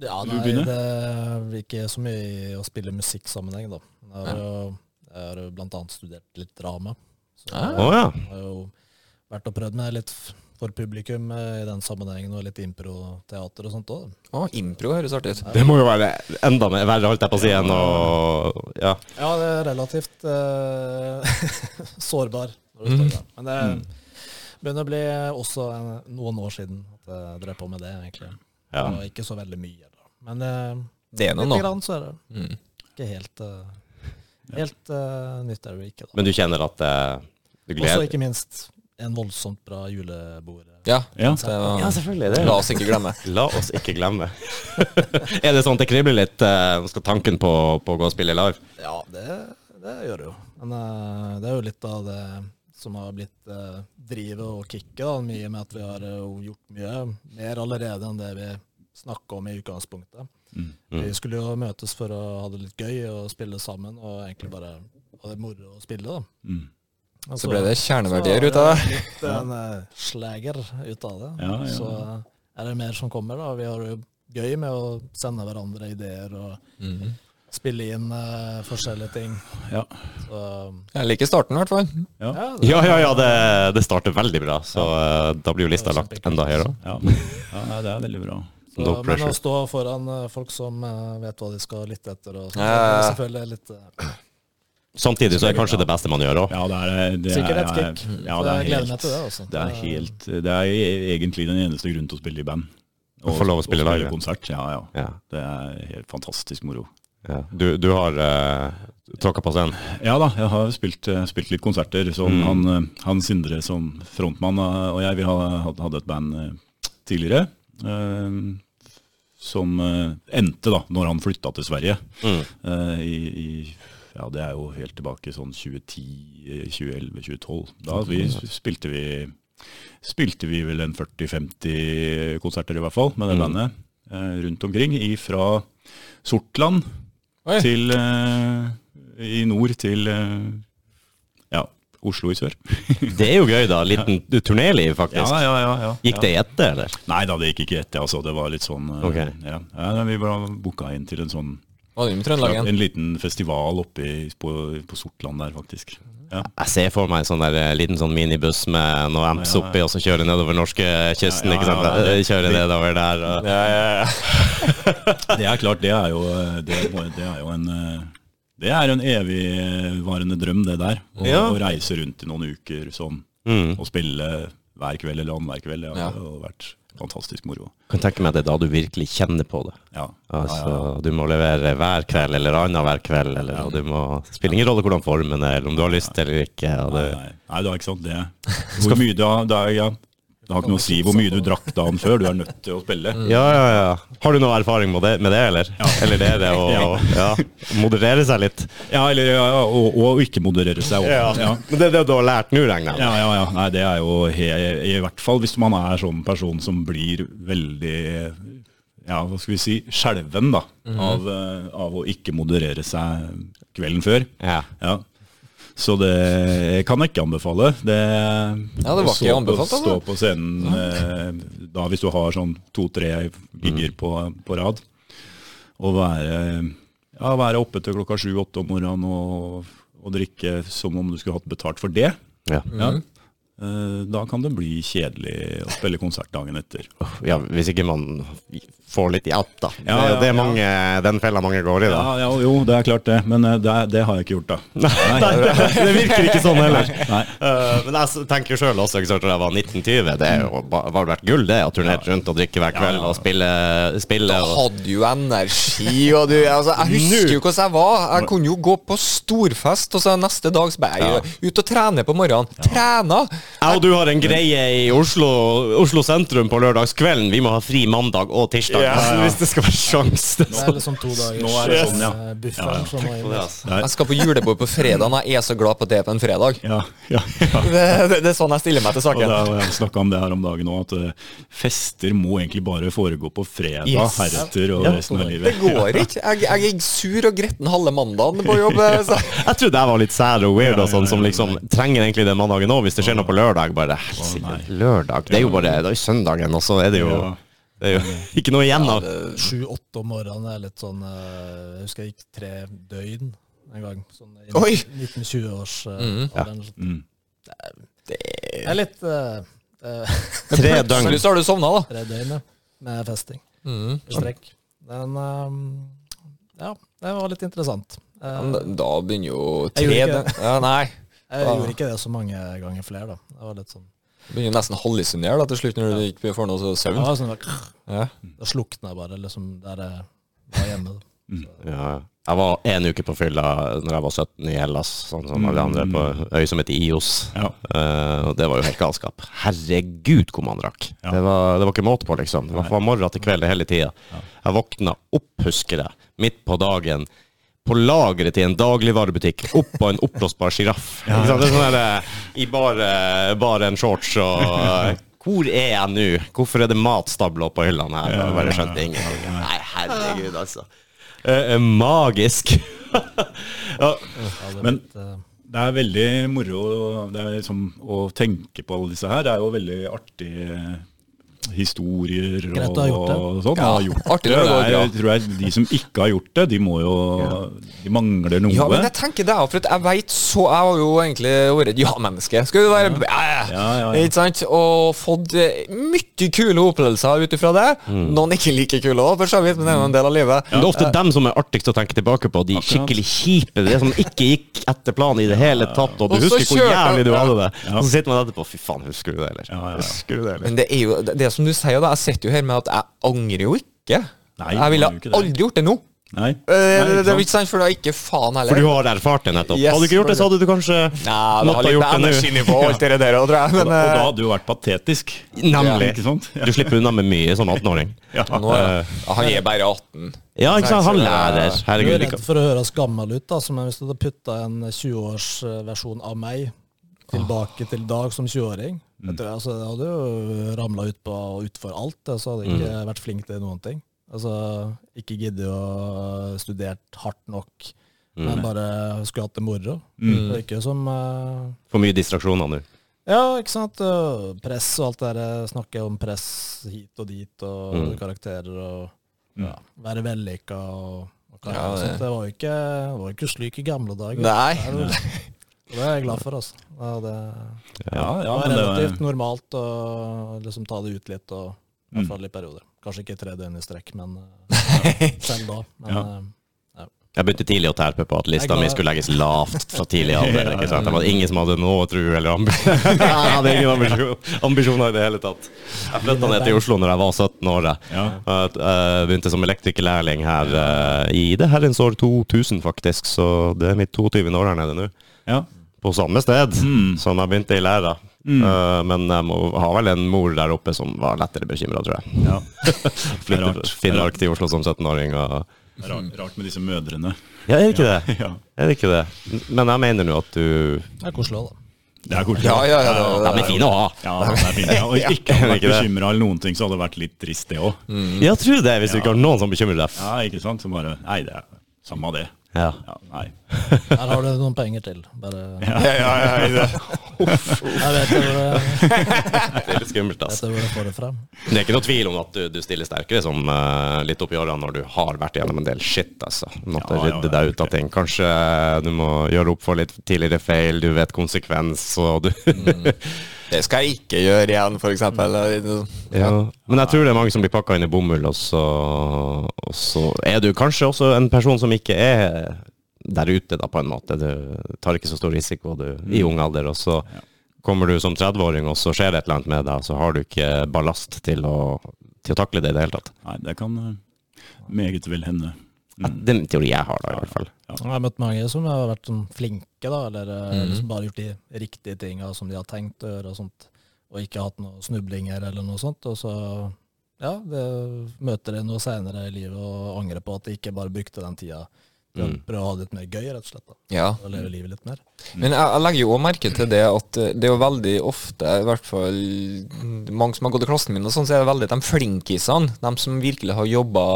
Speaker 4: Ja,
Speaker 3: Vil du
Speaker 4: nei,
Speaker 3: begynne?
Speaker 4: det er ikke så mye i å spille musikksammenheng, da. Men Jeg har jo jeg har jo blant annet studert litt drama. Så
Speaker 1: Å ja.
Speaker 4: jeg har jo vært og prøvd meg litt f- for publikum eh, i den sammenhengen, og litt improteater og sånt òg.
Speaker 2: Å, impro høres artig ut.
Speaker 1: Det må jo være enda mer verre, holdt jeg på å si, enn å Ja.
Speaker 4: Ja, det er relativt eh, sårbar når
Speaker 2: Mm.
Speaker 4: du står der. Men det begynner å bli også en- noen år siden at jeg drev på med det, egentlig.
Speaker 1: Ja.
Speaker 4: Og ikke så veldig mye. Da. Men eh,
Speaker 2: Det er noe
Speaker 4: lite
Speaker 2: nå. Mm.
Speaker 4: grann så er det. Ikke helt, eh, helt eh, nytt er det ikke, da.
Speaker 1: Men du kjenner at eh, du
Speaker 4: Også
Speaker 1: gleder
Speaker 4: ikke minst en voldsomt bra julebord. eh,
Speaker 2: Ja.
Speaker 3: Ja.
Speaker 2: Det var-
Speaker 1: selvfølgelig.
Speaker 2: La oss ikke glemme.
Speaker 1: La oss ikke glemme. er det sånn at det kribler litt? eh, skal tanken på, på å gå og spille live?
Speaker 4: Ja, det, det gjør det jo. Men eh, det er jo litt av det som har blitt eh, drivet og kicket, da, mye med at vi har eh, gjort mye mer allerede enn det vi snakka om i utgangspunktet. Vi skulle jo møtes for å ha det litt gøy og spille sammen, og egentlig bare ha det moro å spille, da.
Speaker 3: Mm.
Speaker 4: Og
Speaker 2: Så ble det
Speaker 4: så
Speaker 2: kjerneverdier
Speaker 4: har
Speaker 2: ut av det.
Speaker 4: Litt en eh, slager ut av det.
Speaker 3: Ja, ja.
Speaker 4: Så eh, er det mer som kommer, da. Vi har det jo gøy med å sende hverandre ideer og spille inn eh, forskjellige ting.
Speaker 3: Ja.
Speaker 4: Så,
Speaker 2: Jeg liker starten, i hvert fall.
Speaker 3: Ja.
Speaker 4: det-
Speaker 1: Ja, ja, ja, det, det starter veldig bra, så eh, da blir jo lista lagt enda høyere. også.
Speaker 3: Ja. ja, nei, det er veldig bra.
Speaker 4: så,
Speaker 1: No
Speaker 4: men
Speaker 1: pressure.
Speaker 4: å stå foran eh, folk som eh, vet hva de skal lytte etter, og sånt,
Speaker 2: Ja.
Speaker 4: det er selvfølgelig litt eh,
Speaker 1: Samtidig så er det kanskje det beste man gjør òg.
Speaker 3: Ja, det er, det er,
Speaker 4: sikkerhetskick.
Speaker 3: Ja,
Speaker 4: så
Speaker 3: det
Speaker 4: jeg
Speaker 3: er
Speaker 4: gleder
Speaker 3: helt,
Speaker 4: meg til det. altså. Også.
Speaker 3: det er helt Det er e- egentlig den eneste grunnen til å spille i band.
Speaker 1: Å få lov å spille
Speaker 3: og
Speaker 1: live.
Speaker 3: konsert. Ja, ja.
Speaker 1: Ja.
Speaker 3: Det er helt fantastisk moro.
Speaker 1: Ja. Du, du har uh, tråkka på scenen.
Speaker 3: Ja da, jeg har spilt, eh, spilt litt konserter. Så han, eh, han Sindre som frontmann eh, og jeg, vi ha- had- hadde et band eh, tidligere. eh, Som eh, endte da, når han flytta til Sverige. Eh, I, i ja, det er jo helt tilbake sånn 2010, eh, 2011, 2012. Da vi, spilte vi spilte vi vel en 40-50 konserter i hvert fall med det bandet eh, rundt omkring. Fra Sortland
Speaker 2: Oi.
Speaker 3: til eh, i nord til eh, ja, Oslo i sør.
Speaker 1: Det er jo gøy, da. Liten turnéliv, faktisk.
Speaker 3: ja, ja, ja.
Speaker 1: Gikk det i ett, eller?
Speaker 3: Nei da, det gikk ikke etter. Altså. Det var litt sånn eh,
Speaker 1: Ok.
Speaker 3: ja. Ja, nei, Vi ble booka inn til en sånn
Speaker 2: Var det med Trøndelag igjen?
Speaker 3: en liten festival oppe i, på, på Sortland der, faktisk. Ja.
Speaker 1: Jeg ser for meg en sånn der eh, liten sånn minibuss med noe amps oppi, og så kjøre nedover norskekysten,
Speaker 3: Ja, ja,
Speaker 1: ikke sant.
Speaker 3: ja, det-
Speaker 1: Kjøre nedover der. Og...
Speaker 2: Ja, ja, ja.
Speaker 3: Det er klart, det er jo, eh, det, må- det er jo en eh, Det er en evigvarende drøm, det der. Å,
Speaker 1: Ja.
Speaker 3: å reise rundt i noen uker sånn, og spille hver kveld eller annenhver kveld. Det har jo vært fantastisk moro.
Speaker 1: Kan tenke meg at det er da du virkelig kjenner på det.
Speaker 3: Ja.
Speaker 1: Altså, Du må levere hver kveld eller annenhver kveld, eller, og du må spiller ingen rolle hvordan formen er, eller om du har lyst eller ikke. Og det,
Speaker 3: Nei, nei, nei, det er ikke sant, det. Hvor mye da, det, er, ja, det har ikke noe å si hvor mye du drakk dagen før, du er nødt til å spille.
Speaker 1: Ja, ja, ja. Har du noe erfaring med det, med det eller? Eller det, det å
Speaker 3: Ja.
Speaker 1: ja. moderere seg litt?
Speaker 3: Ja, eller, ja, ja, og, og ikke moderere seg. også. Ja.
Speaker 1: Men det er det du har lært nå, regner jeg med?
Speaker 3: Ja, ja, ja. Nei, det er jo he I hvert fall hvis man er sånn person som blir veldig Ja, hva skal vi si skjelven, da. av, eh, av å ikke moderere seg kvelden før.
Speaker 1: Ja.
Speaker 3: Ja. Så det kan jeg ikke anbefale. Det,
Speaker 2: Ja, det var
Speaker 3: å stå
Speaker 2: ikke anbefalt,
Speaker 3: På,
Speaker 2: altså.
Speaker 3: stå på scenen eh, da hvis du har sånn to-tre gigger
Speaker 2: Mm.
Speaker 3: på, på rad. Og være, ja, være oppe til klokka sju-åtte om morgenen og, og drikke som om du skulle hatt betalt for det.
Speaker 1: Ja.
Speaker 2: Mm.
Speaker 3: Ja. Eh, Da kan det bli kjedelig å spille konsert dagen etter.
Speaker 1: ja, hvis ikke man får litt hjelp, da.
Speaker 3: Ja,
Speaker 1: det er
Speaker 3: ja,
Speaker 1: jo det
Speaker 3: ja.
Speaker 1: mange, den fella mange går i, da.
Speaker 3: Ja, ja, jo, det er klart det, men eh, det, det har jeg ikke gjort, da.
Speaker 1: Nei, det, det virker ikke sånn heller.
Speaker 3: Nei.
Speaker 1: Eh, men jeg s- tenker sjøl også, ikke sant, da jeg var 1920, det er jo ba- har vært gull, det. Å turnere rundt og drikke hver kveld og spille. spille
Speaker 2: Jeg
Speaker 1: og,
Speaker 2: hadde jo energi, og du altså, Jeg husker jo hvordan jeg var. Jeg kunne jo gå på storfest, og så neste dag så ble jeg jo ute og trene på morgenen. Trena!
Speaker 1: jeg og du har en greie i Oslo, Oslo sentrum på lørdagskvelden. Vi må ha fri mandag og tirsdag altså, hvis det skal være sjans. Det er
Speaker 4: Det
Speaker 1: sånn.
Speaker 4: er liksom to dager
Speaker 3: Nå er det sånn, ja.
Speaker 4: eh, bufferen som må inn.
Speaker 2: Jeg skal på julebord på fredag, og jeg er så glad på det på en fredag.
Speaker 3: Ja, ja, ja.
Speaker 2: Det, det, det er sånn jeg stiller meg til
Speaker 3: Og det,
Speaker 2: saken.
Speaker 3: og jeg snakka om det her om dagen òg, at eh, fester må egentlig bare foregå på fredag
Speaker 2: Yes.
Speaker 3: heretter og resten av
Speaker 2: Det
Speaker 3: livet.
Speaker 2: går ikke. Jeg, jeg er sur og gretten halve mandagen på jobb. eh, Så.
Speaker 1: Jeg trodde jeg var litt sær og weird og sånn, som
Speaker 3: ja, ja,
Speaker 1: liksom trenger egentlig den mandagen òg, hvis det skjer noe på lørdag. Bare helsike, lørdag. Det er jo bare det er jo søndagen, og så er det jo,
Speaker 3: Ja.
Speaker 1: det er jo ikke noe igjen av
Speaker 4: Sju-åtte om morgenen er litt sånn eh, Jeg husker jeg gikk tre døgn en gang. Sånn i
Speaker 2: Oi! Mm.
Speaker 4: 1920-års eh, alderen.
Speaker 3: Mm.
Speaker 4: Det er litt eh, Eh,
Speaker 1: Tre døgn.
Speaker 2: Plutselig så har du sovna, da. Mm.
Speaker 4: Tre døgn, ja. Med festing. I strekk. Den eh, Ja, det var litt interessant. Eh,
Speaker 2: Ja, men Da begynner jo
Speaker 4: Jeg
Speaker 2: tre
Speaker 4: gjorde ikke
Speaker 2: døgn ja, Nei.
Speaker 4: jeg gjorde ikke det så mange ganger flere, da. Det var litt sånn
Speaker 2: Begynner nesten hallusinere da, til slutt når du ikke får noe
Speaker 4: Det
Speaker 2: søvn.
Speaker 4: var sånn at-
Speaker 2: Ja.
Speaker 4: Da slukna jeg bare, liksom, der jeg var hjemme.
Speaker 1: Ja. Jeg var én uke på fylla når jeg var 17 i Hellas, sånn som alle andre på øy som heter Ios.
Speaker 3: Mm. Ja.
Speaker 1: Eh, og det var jo helt galskap. Herregud, hvor man drakk. Det, var, det var ikke måte på, liksom. Det var fra morgen til kveld hele tida. Jeg våkna opp, husker jeg, midt på dagen. På lageret til en dagligvarebutikk oppå en oppblåsbar sjiraff. Ikke sant? Det er sånn der, eh, I bare, bare en shorts og eh, Hvor er jeg nå? Hvorfor er det matstabler oppå hyllene her? Jeg bare skjønte ingenting. Nei, herregud, altså. Eh, eh, magisk. ja.
Speaker 3: Men-
Speaker 4: Men
Speaker 3: Det er veldig moro det er liksom, å tenke på alle disse her. Det er jo veldig artige historier
Speaker 4: Greit
Speaker 3: og,
Speaker 4: å ha gjort det.
Speaker 3: og sånn. Ja, gjort
Speaker 2: artig når det går
Speaker 3: er, tror jeg, De som ikke har gjort det, de må jo De mangler noe.
Speaker 2: Ja, men jeg tenker det, for at jeg vet så Jeg har jo egentlig vært et ja-menneske. Skal du være ja, ja.
Speaker 3: Ja, ja, ja.
Speaker 2: Ikke sant? Og fått eh, mye kule opplevelser ut ifra det. Noen ikke like kule òg, for så vidt, men det er jo en del av livet.
Speaker 1: Det er ofte dem som er artigst å tenke tilbake på. De skikkelig kjipe. Det som ikke gikk etter planen i det hele tatt. Og du
Speaker 2: Og så
Speaker 1: husker hvor
Speaker 2: kjørte-
Speaker 1: jævlig du hadde det.
Speaker 3: Ja.
Speaker 1: Så sitter man etterpå Fy faen, husker du det, eller?
Speaker 3: Ja, ja, ja.
Speaker 1: Husker du det, eller?
Speaker 2: Men det er jo det, det som du sier, da. Jeg sitter jo her med at jeg angrer jo ikke.
Speaker 3: Nei,
Speaker 2: jeg ville
Speaker 3: man gjør jo ikke det.
Speaker 2: aldri gjort det nå.
Speaker 3: Nei,
Speaker 2: Eh,
Speaker 3: nei,
Speaker 2: det,
Speaker 3: ikke
Speaker 2: er jo
Speaker 3: sant?
Speaker 2: ikke sant, for da er ikke faen heller.
Speaker 1: For du har erfart det nettopp.
Speaker 2: Yes,
Speaker 1: hadde du ikke gjort det, så hadde du kanskje
Speaker 2: Nei, det har
Speaker 1: måtte ha
Speaker 2: litt med
Speaker 1: gjort det nå.
Speaker 2: energinivå og alt det der òg, tror jeg.
Speaker 3: og,
Speaker 2: Men,
Speaker 3: da, og da
Speaker 2: eh,
Speaker 3: hadde du vært patetisk.
Speaker 1: Nemlig.
Speaker 3: Ikke sant? Ja.
Speaker 1: Du slipper unna med mye som 18-åring.
Speaker 3: Ja.
Speaker 2: nå, er- han er bare 18.
Speaker 1: Ja, ikke sant? Han
Speaker 2: Nei, så-
Speaker 1: lærer.
Speaker 4: du
Speaker 1: Herregud.
Speaker 4: er
Speaker 1: vi
Speaker 4: redd
Speaker 1: kan-
Speaker 4: for å høres gammel ut, da, som hvis du hadde putta en 20-årsversjon av meg tilbake til Dag som 20-åring.
Speaker 1: Mm.
Speaker 4: Jeg tror, altså, jeg hadde jo ramla utpå og utfor alt, jeg, så hadde jeg
Speaker 1: Mm.
Speaker 4: ikke vært flink til noen ting. Altså, ikke giddet å studert hardt nok, men bare skulle hatt det moro.
Speaker 1: Mm.
Speaker 4: Det er ikke som eh,
Speaker 1: For mye distraksjoner nå.
Speaker 4: Ja, ikke sant. Og Press og alt det der. eh, Snakke om press hit og dit, og karakterer og ja, være vellykka og, og hva-
Speaker 2: Ja, det-
Speaker 4: sånt. Det var jo ikke, det var jo ikke slik i gamle dager.
Speaker 2: Nei.
Speaker 4: Det er jo- og det er jeg glad for, altså. Ja, det,
Speaker 3: Ja, ja,
Speaker 4: det var
Speaker 3: men det
Speaker 4: relativt
Speaker 3: var,
Speaker 4: normalt å liksom ta det ut litt, og i hvert fall i perioder. Kanskje ikke tre døgn i strekk, men ja, selv da. Men,
Speaker 3: Ja.
Speaker 4: eh,
Speaker 1: Jeg begynte tidlig å terpe på at lista
Speaker 4: Jeg er
Speaker 1: mi
Speaker 4: glad.
Speaker 1: skulle legges lavt fra tidlig alder. Ikke sant? Det var ingen som hadde noe tru eller ambisjon. Jeg hadde ingen ambisjon, ambisjoner i det hele tatt. Jeg flytta ned til Oslo når jeg var 17 år. jeg.
Speaker 3: Ja.
Speaker 1: Og Jeg begynte som elektrikerlærling her eh, i det herrens år 2000, faktisk. Så det er mitt 22. år her nede nå.
Speaker 3: ja.
Speaker 1: På samme sted
Speaker 3: Mm.
Speaker 1: som jeg begynte i læra. Eh, Men jeg må ha vel en mor der oppe som var lettere bekymra, tror jeg.
Speaker 3: ja. Det er
Speaker 1: Flytte
Speaker 3: rart.
Speaker 1: fra Finnmark til Oslo som 17-åring. og...
Speaker 3: Det er Rart, rart med disse mødrene.
Speaker 1: Ja, er det ikke det?
Speaker 3: Ja.
Speaker 1: Er det ikke det? Men jeg mener nå at du
Speaker 4: det er koselig òg, da.
Speaker 3: Det er koselig.
Speaker 2: Ja, ja, ja, det,
Speaker 1: De er fine å ha.
Speaker 3: Ja, det er fint. Ja, og ikke Mm. hadde vært
Speaker 1: Ikke det.
Speaker 3: bekymra eller noen ting, så hadde det vært litt trist, det òg.
Speaker 1: Ja, tror det, hvis du ikke har noen som bekymrer deg.
Speaker 3: Ja, ikke sant? Så bare Nei, det er samme av det.
Speaker 1: Ja.
Speaker 3: Ja, nei.
Speaker 4: Her har du noen penger til. Bare,
Speaker 2: ja, ja, ja, ja.
Speaker 4: jeg vet jo hvor det-
Speaker 1: Det er litt skummelt,
Speaker 4: vet
Speaker 1: altså.
Speaker 4: jo hvor det får det frem.
Speaker 1: Det er ikke noe tvil om at du, du stiller sterkere som eh, litt oppi årene når du har vært gjennom en del shit, altså. Du måtte
Speaker 3: Ja, ja,
Speaker 1: rydde
Speaker 3: ja,
Speaker 1: deg ut av ting. Kanskje eh, du må gjøre opp for litt tidligere feil, du vet konsekvens, og du
Speaker 2: Det skal jeg ikke gjøre igjen, for eksempel.
Speaker 3: Mm.
Speaker 1: Ja. Men jeg tror det er mange som blir pakka inn i bomull, og så, og så er du kanskje også en person som ikke er der ute, da, på en måte. Du tar ikke så stor risiko du, i ung alder, og så kommer du som 30-åring, og så skjer det et eller annet med deg, og så har du ikke ballast til å, til å takle det i det hele tatt.
Speaker 3: nei det kan eh, meget vel hende.
Speaker 1: Det er en teori jeg har, da, i hvert fall.
Speaker 4: Jeg har møtt mange som har vært sånn flinke, da, eller eh,
Speaker 2: Mhm.
Speaker 4: liksom bare gjort de riktige tinga som de har tenkt å gjøre, og sånt, og ikke hatt noen snublinger eller noe sånt. Og så ja, det, møter de noe seinere i livet og angrer på at de ikke bare brukte den tida til
Speaker 2: Mm.
Speaker 4: å prøve å ha det litt mer gøy, rett og slett. da,
Speaker 2: Ja.
Speaker 4: Og leve livet litt mer.
Speaker 2: Mm. Men jeg, jeg legger jo også merke til det at eh, det er jo veldig ofte, i hvert fall mange som har gått i klassen min, og sånn, så er det veldig de flinkisene, de som virkelig har jobba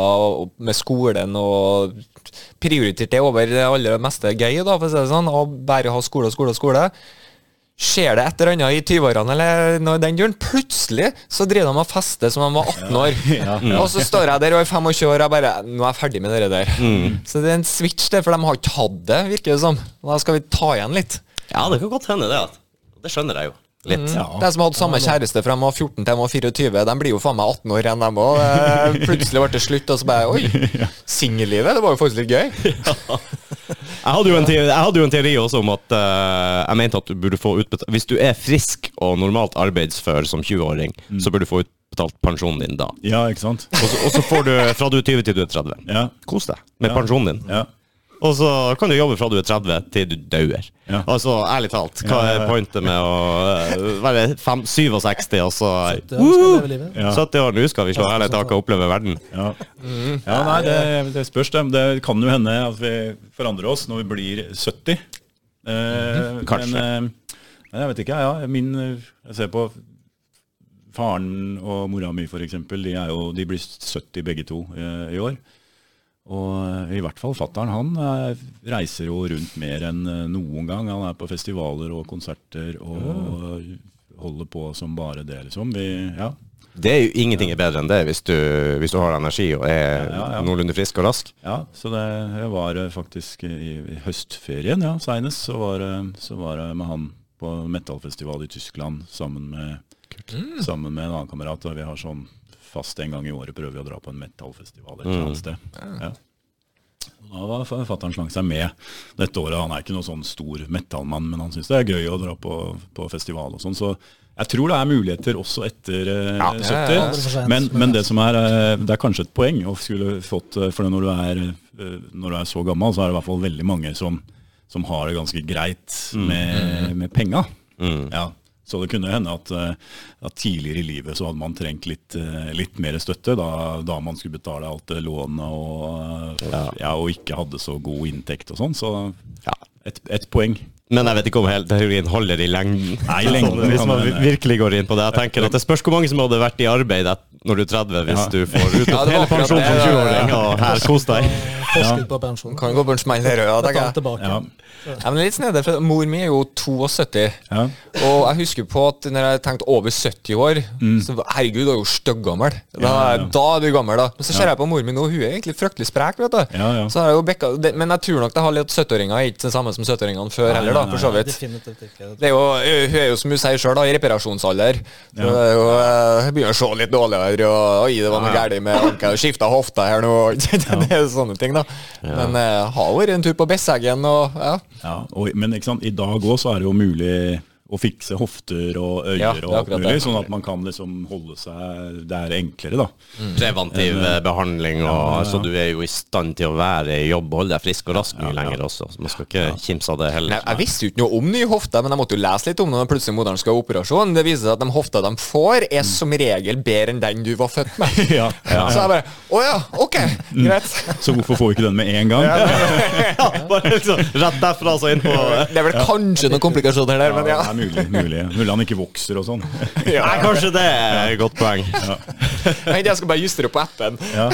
Speaker 2: med skolen og prioritert det over det aller meste gøy, da, for å si det sånn, og bare ha skole og skole og skole. Skjer det et eller annet i 20-årene eller noe i den duren? Plutselig så driver de og fester som de var 18 år. Mm. Og så står jeg der og er 25 år og jeg bare Nå er jeg ferdig med det der. Så det er en switch der, for de har ikke hatt det, virker det som. Da skal vi ta igjen litt.
Speaker 1: Ja, altså. det kan godt hende, det. at- Det skjønner jeg jo. Litt.
Speaker 2: De som hadde samme kjæreste fra de var 14 til de var 24, de blir jo faen meg 18 år igjen, de òg. Plutselig ble det slutt, og så bare Oi! Singellivet, det var jo faktisk litt gøy.
Speaker 1: Jeg hadde jo en teori, jeg hadde jo en teori også om at eh, jeg mente at du burde få utbetalt Hvis du er frisk og normalt arbeidsfør som 20-åring,
Speaker 3: Mm.
Speaker 1: så burde du få utbetalt pensjonen din da.
Speaker 3: Ja, ikke sant?
Speaker 1: Og så, og så får du fra du er 20 til du er 30.
Speaker 3: Ja.
Speaker 1: Kos deg med pensjonen din.
Speaker 3: Ja.
Speaker 1: Og så kan du jobbe fra du er 30 til du dauer.
Speaker 3: Ja.
Speaker 1: Altså, ærlig talt, hva
Speaker 3: Ja, ja,
Speaker 1: er
Speaker 3: ja.
Speaker 1: pointet med å eh, være fem- 67 og så
Speaker 4: Det er- skal leve livet.
Speaker 3: Ja.
Speaker 1: 70 år, nå skal vi slå hele taket og oppleve verden.
Speaker 3: Ja, ja nei, det, det spørs det. Det kan jo hende at vi forandrer oss når vi blir 70. Eh,
Speaker 1: Kanskje.
Speaker 3: Men, eh, nei, jeg vet ikke. Ja, min, eh, jeg ser på faren og mora mi for eksempel, de, er jo, de blir 70 begge to eh, i år. Og i hvert fall fatteren, han eh, reiser jo rundt mer enn eh, noen gang. Han er på festivaler og konserter og holder på som bare det, liksom. Vi, ja,
Speaker 1: Det er jo ingenting er bedre enn det hvis du, hvis du har energi og er
Speaker 3: Ja, ja.
Speaker 1: noenlunde frisk og rask.
Speaker 3: Ja, så det jeg var eh, faktisk i, i høstferien, ja, seinest, så, var det- så var jeg med han på metallfestival i Tyskland sammen med, sammen med en annen kamerat. Og vi har sånn fast en gang i året prøver vi å dra på en metallfestival
Speaker 2: Mm.
Speaker 3: et eller annet sted. Ja. Og Da var fa- fatter'n slang seg med dette året. Han er ikke noen sånn stor metallmann, men han syns det er gøy å dra på, på festival og sånn. Så jeg tror det er muligheter også etter eh, 70.
Speaker 2: ja, ja.
Speaker 4: Aldri for sent.
Speaker 3: Men, men det som er, eh, det er kanskje et poeng å skulle fått eh, For når du er, eh, når du er så gammel, så er det i hvert fall veldig mange som, som har det ganske greit med, med penga. Ja. Så det kunne hende at, eh, at tidligere i livet så hadde man trengt litt, eh, litt mer støtte, da, da man skulle betale alt det lånet og, eh, ja, og ikke hadde så god inntekt og sånn. Så et, et poeng.
Speaker 1: Men jeg vet ikke om hele teorien holder i lengden.
Speaker 3: Nei, i lengden
Speaker 1: Sånn, Hvis
Speaker 3: kan
Speaker 1: man
Speaker 3: det-
Speaker 1: virkelig går inn på det. Jeg tenker at Det spørs hvor mange som hadde vært i arbeid et- når du er 30, hvis
Speaker 3: Ja.
Speaker 1: du får utnyttet
Speaker 2: Ja, det var
Speaker 1: hele
Speaker 2: akkurat
Speaker 1: pensjonen som
Speaker 2: det, ja, ja.
Speaker 1: 20-åring. Og her, kos deg.
Speaker 4: Forskudd på pensjonen.
Speaker 2: Kan gå på en smell her òg,
Speaker 4: Ta
Speaker 2: tenker
Speaker 4: den
Speaker 2: jeg.
Speaker 4: tilbake.
Speaker 3: Ja.
Speaker 2: Ja, men litt snedig, for Mor mi er jo 72.
Speaker 3: Ja.
Speaker 2: Og jeg husker på at når jeg tenkte over 70 år så, Herregud, du er jo støggammel. Da,
Speaker 3: Mm. Ja, ja, ja.
Speaker 2: da er du gammel, da. Men så ser jeg på mor min nå, hun er egentlig fryktelig sprek. vet du
Speaker 3: Ja, ja.
Speaker 2: Så har jeg jo bekka, det, Men jeg tror nok det har litt 70-åringer er ikke det samme som 70-åringene før heller, da, for så vidt.
Speaker 4: Definitivt ikke.
Speaker 2: Det er jo, hun er jo som hun sier sjøl, i reparasjonsalder. Så
Speaker 3: Ja.
Speaker 2: det er jo, eh, begynner å se litt dårligere, og oi, det var noe galt med ankelen. Skifta hofta her nå. det er jo sånne ting, da. Men eh, har vært en tur på Besseggen og ja.
Speaker 3: Ja, og, men ikke sant? i dag òg så er det jo mulig å fikse hofter og øyer
Speaker 2: Ja, det er
Speaker 3: og alt
Speaker 2: akkurat
Speaker 3: mulig,
Speaker 2: det.
Speaker 3: sånn at man kan liksom holde seg Det er enklere, da.
Speaker 1: Preventiv eh, behandling, og, så du er jo i stand til å være i jobb og holde deg frisk og rask mye lenger også. Så man skal ikke kimse av det
Speaker 2: Nei,
Speaker 1: heller.
Speaker 2: jeg visste jo ikke noe om nye hofter, men jeg måtte jo lese litt om det når plutselig moderen skal ha operasjon. Det viser seg at de hofta de får, er som regel bedre enn den du var født med.
Speaker 3: Mm. Ja, ja. Mm.
Speaker 2: Så jeg bare Å ja, ok, greit.
Speaker 3: Så hvorfor får vi ikke den med en gang?
Speaker 1: Ja, bare liksom rett derfra så inn på
Speaker 2: Det er vel kanskje noen komplikasjoner der,
Speaker 3: Ja,
Speaker 2: men
Speaker 3: det
Speaker 2: ja.
Speaker 3: er mulig. Mulig, mulig han ikke vokser og sånn.
Speaker 1: Nei, kanskje det er et godt poeng.
Speaker 2: Vent, jeg skal bare justere på appen.
Speaker 3: Ja,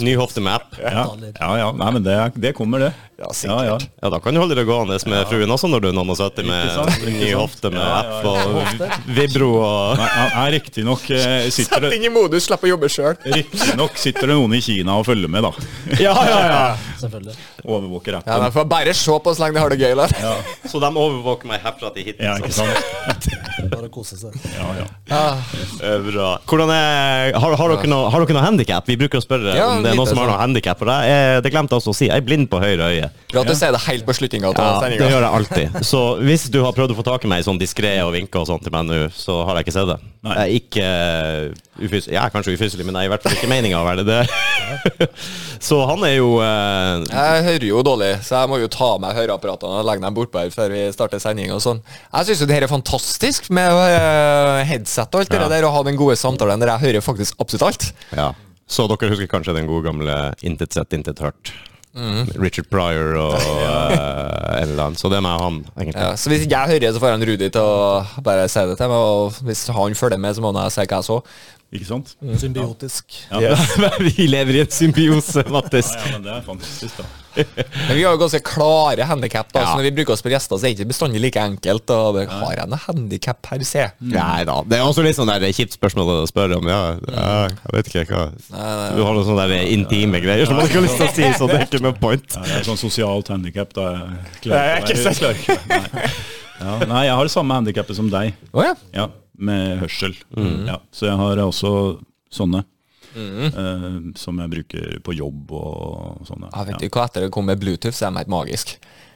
Speaker 1: Ny hofte med app.
Speaker 3: ja, ja, ja. Nei, men det, er- det kommer, det.
Speaker 2: Ja,
Speaker 3: Ja,
Speaker 2: sikkert.
Speaker 3: ja.
Speaker 1: Ja, da kan du holde deg gående med fruen også når du er noen og 70
Speaker 3: Ikke sant,
Speaker 1: med
Speaker 3: ikke
Speaker 1: ny
Speaker 3: sant.
Speaker 1: hofte med
Speaker 3: Ja, ja,
Speaker 1: app og vibro og
Speaker 3: Nei, ja, nei, Riktignok eh, sitter
Speaker 2: Sett
Speaker 3: det
Speaker 2: inn i modus, slipp å jobbe sjøl.
Speaker 3: Riktig nok sitter det noen i Kina og følger med, da.
Speaker 1: Ja, ja, ja.
Speaker 4: Selvfølgelig.
Speaker 3: Overvåker
Speaker 2: Ja,
Speaker 3: appen.
Speaker 2: de får bare se på så lenge de har det gøy. Eller?
Speaker 3: Ja,
Speaker 1: Så de overvåker meg herfra til sånn hit.
Speaker 3: ja, ikke sant?
Speaker 4: Bare kose seg.
Speaker 3: Ja, ja.
Speaker 1: Bra. Hvordan er, har, har dere noe, har dere noe handikap? Vi bruker å spørre
Speaker 2: Ja,
Speaker 1: om det er
Speaker 2: litt
Speaker 1: noen som har
Speaker 2: sånn.
Speaker 1: noe handikap. For jeg, er- det glemte jeg også å si. Jeg er blind på høyre øye.
Speaker 2: Bra at du sier det helt på slutninga
Speaker 1: Ja,
Speaker 2: av
Speaker 1: det
Speaker 2: sendinga.
Speaker 1: gjør jeg alltid. Så hvis du har prøvd å få tak i meg sånn diskré og vinke og sånn til meg nå, så har jeg ikke sett det.
Speaker 3: Nei.
Speaker 1: Jeg er ikke eh, ufys Jeg er kanskje ufyselig, men jeg er i hvert fall ikke meninga å være det. Så han er jo eh,
Speaker 2: Jeg hører jo dårlig, så jeg må jo ta av meg høreapparatene og legge dem bortpå her før vi starter sending og sånn. Jeg syns jo det her er fantastisk med øh, headset og alt det der, og ha den gode samtalen der jeg hører faktisk absolutt alt.
Speaker 1: Ja. Så dere husker kanskje den gode gamle 'Intet sett, intet hørt'? Richard Pryor og eh, en eller annen. Så det er meg og han, egentlig.
Speaker 2: Ja, så hvis ikke jeg hører, så får han Rudi til å bare si det til meg, og hvis han følger med, så må han se hva jeg så.
Speaker 3: Ikke sant?
Speaker 4: Symbiotisk.
Speaker 1: Vi lever i en symbiose, Mattis.
Speaker 3: Ja, ja, men det er fantastisk, da.
Speaker 2: Men vi har jo ganske klare handikap, da,
Speaker 1: Ja.
Speaker 2: så når vi bruker oss på gjester, så er det ikke bestandig like enkelt. Og bare, har jeg noe handikap per se?
Speaker 1: Nei da. Det er også litt sånn der kjipt spørsmål å spørre om. Ja, ja jeg vet ikke hva Du har noen sånne der eh, intime greier som man ikke har lyst til å si, så det er ikke noe point.
Speaker 3: Ja, det er sånn sosialt handikap, da. Jeg klarer ikke å være- klarer ikke å være- Nei. Ja, nei, jeg har det samme handikappet som deg.
Speaker 2: Å ja.
Speaker 3: Ja, med hørsel.
Speaker 2: Mm.
Speaker 3: Ja, så jeg har også sånne. eh, som jeg bruker på jobb og sånne.
Speaker 2: Jeg vet
Speaker 3: ja.
Speaker 2: ikke hva etter det kom med Bluetooth, så er det helt magisk.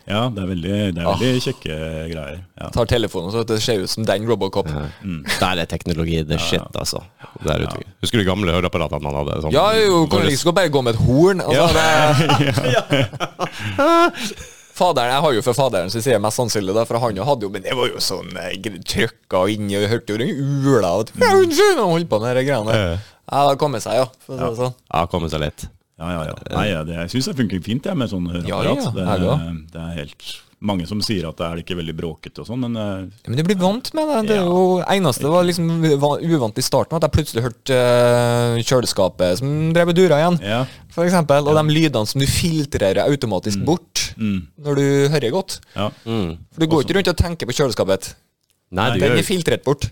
Speaker 3: ja, det er veldig, det
Speaker 2: Ah.
Speaker 3: er veldig kjekke greier. Ja.
Speaker 2: Tar telefonen så det ser ut som den Robocop.
Speaker 1: Der er teknologi the shit, altså. Der ute. Husker du de gamle høreapparatene man hadde? Sånn,
Speaker 2: Ja, jo, liksom. kan like så godt bare gå med et horn. Altså, det... Faderen, Jeg har jo for faderen, så sier jeg mest sannsynlig det, for han jo hadde jo Men det var jo sånn eh, gr- trykka inni, og hørte jo den ula og t- og holdt på med de greiene der. Mm. Ja, det har kommet seg, ja. For å si det sånn.
Speaker 1: Ja, komme seg litt.
Speaker 3: Ja, ja, ja. Nei, ja, det, jeg syns det funker fint jeg, med sånn
Speaker 2: Ja,
Speaker 3: høreapparat.
Speaker 2: ja, jeg
Speaker 3: det,
Speaker 2: også.
Speaker 3: det er helt mange som sier at det er ikke veldig bråkete og sånn, men eh,
Speaker 2: Ja, Men du blir vant med det. Det er
Speaker 3: Ja.
Speaker 2: jo eneste var liksom va- uvant i starten, at jeg plutselig hørte eh, kjøleskapet som drev og dura igjen,
Speaker 3: Ja.
Speaker 2: for eksempel. Og de lydene som du filtrerer automatisk bort når du hører godt.
Speaker 3: ja.
Speaker 2: For du går ikke rundt og tenker på kjøleskapet.
Speaker 1: Nei, du
Speaker 2: Den
Speaker 1: gjør
Speaker 2: er filtrert bort.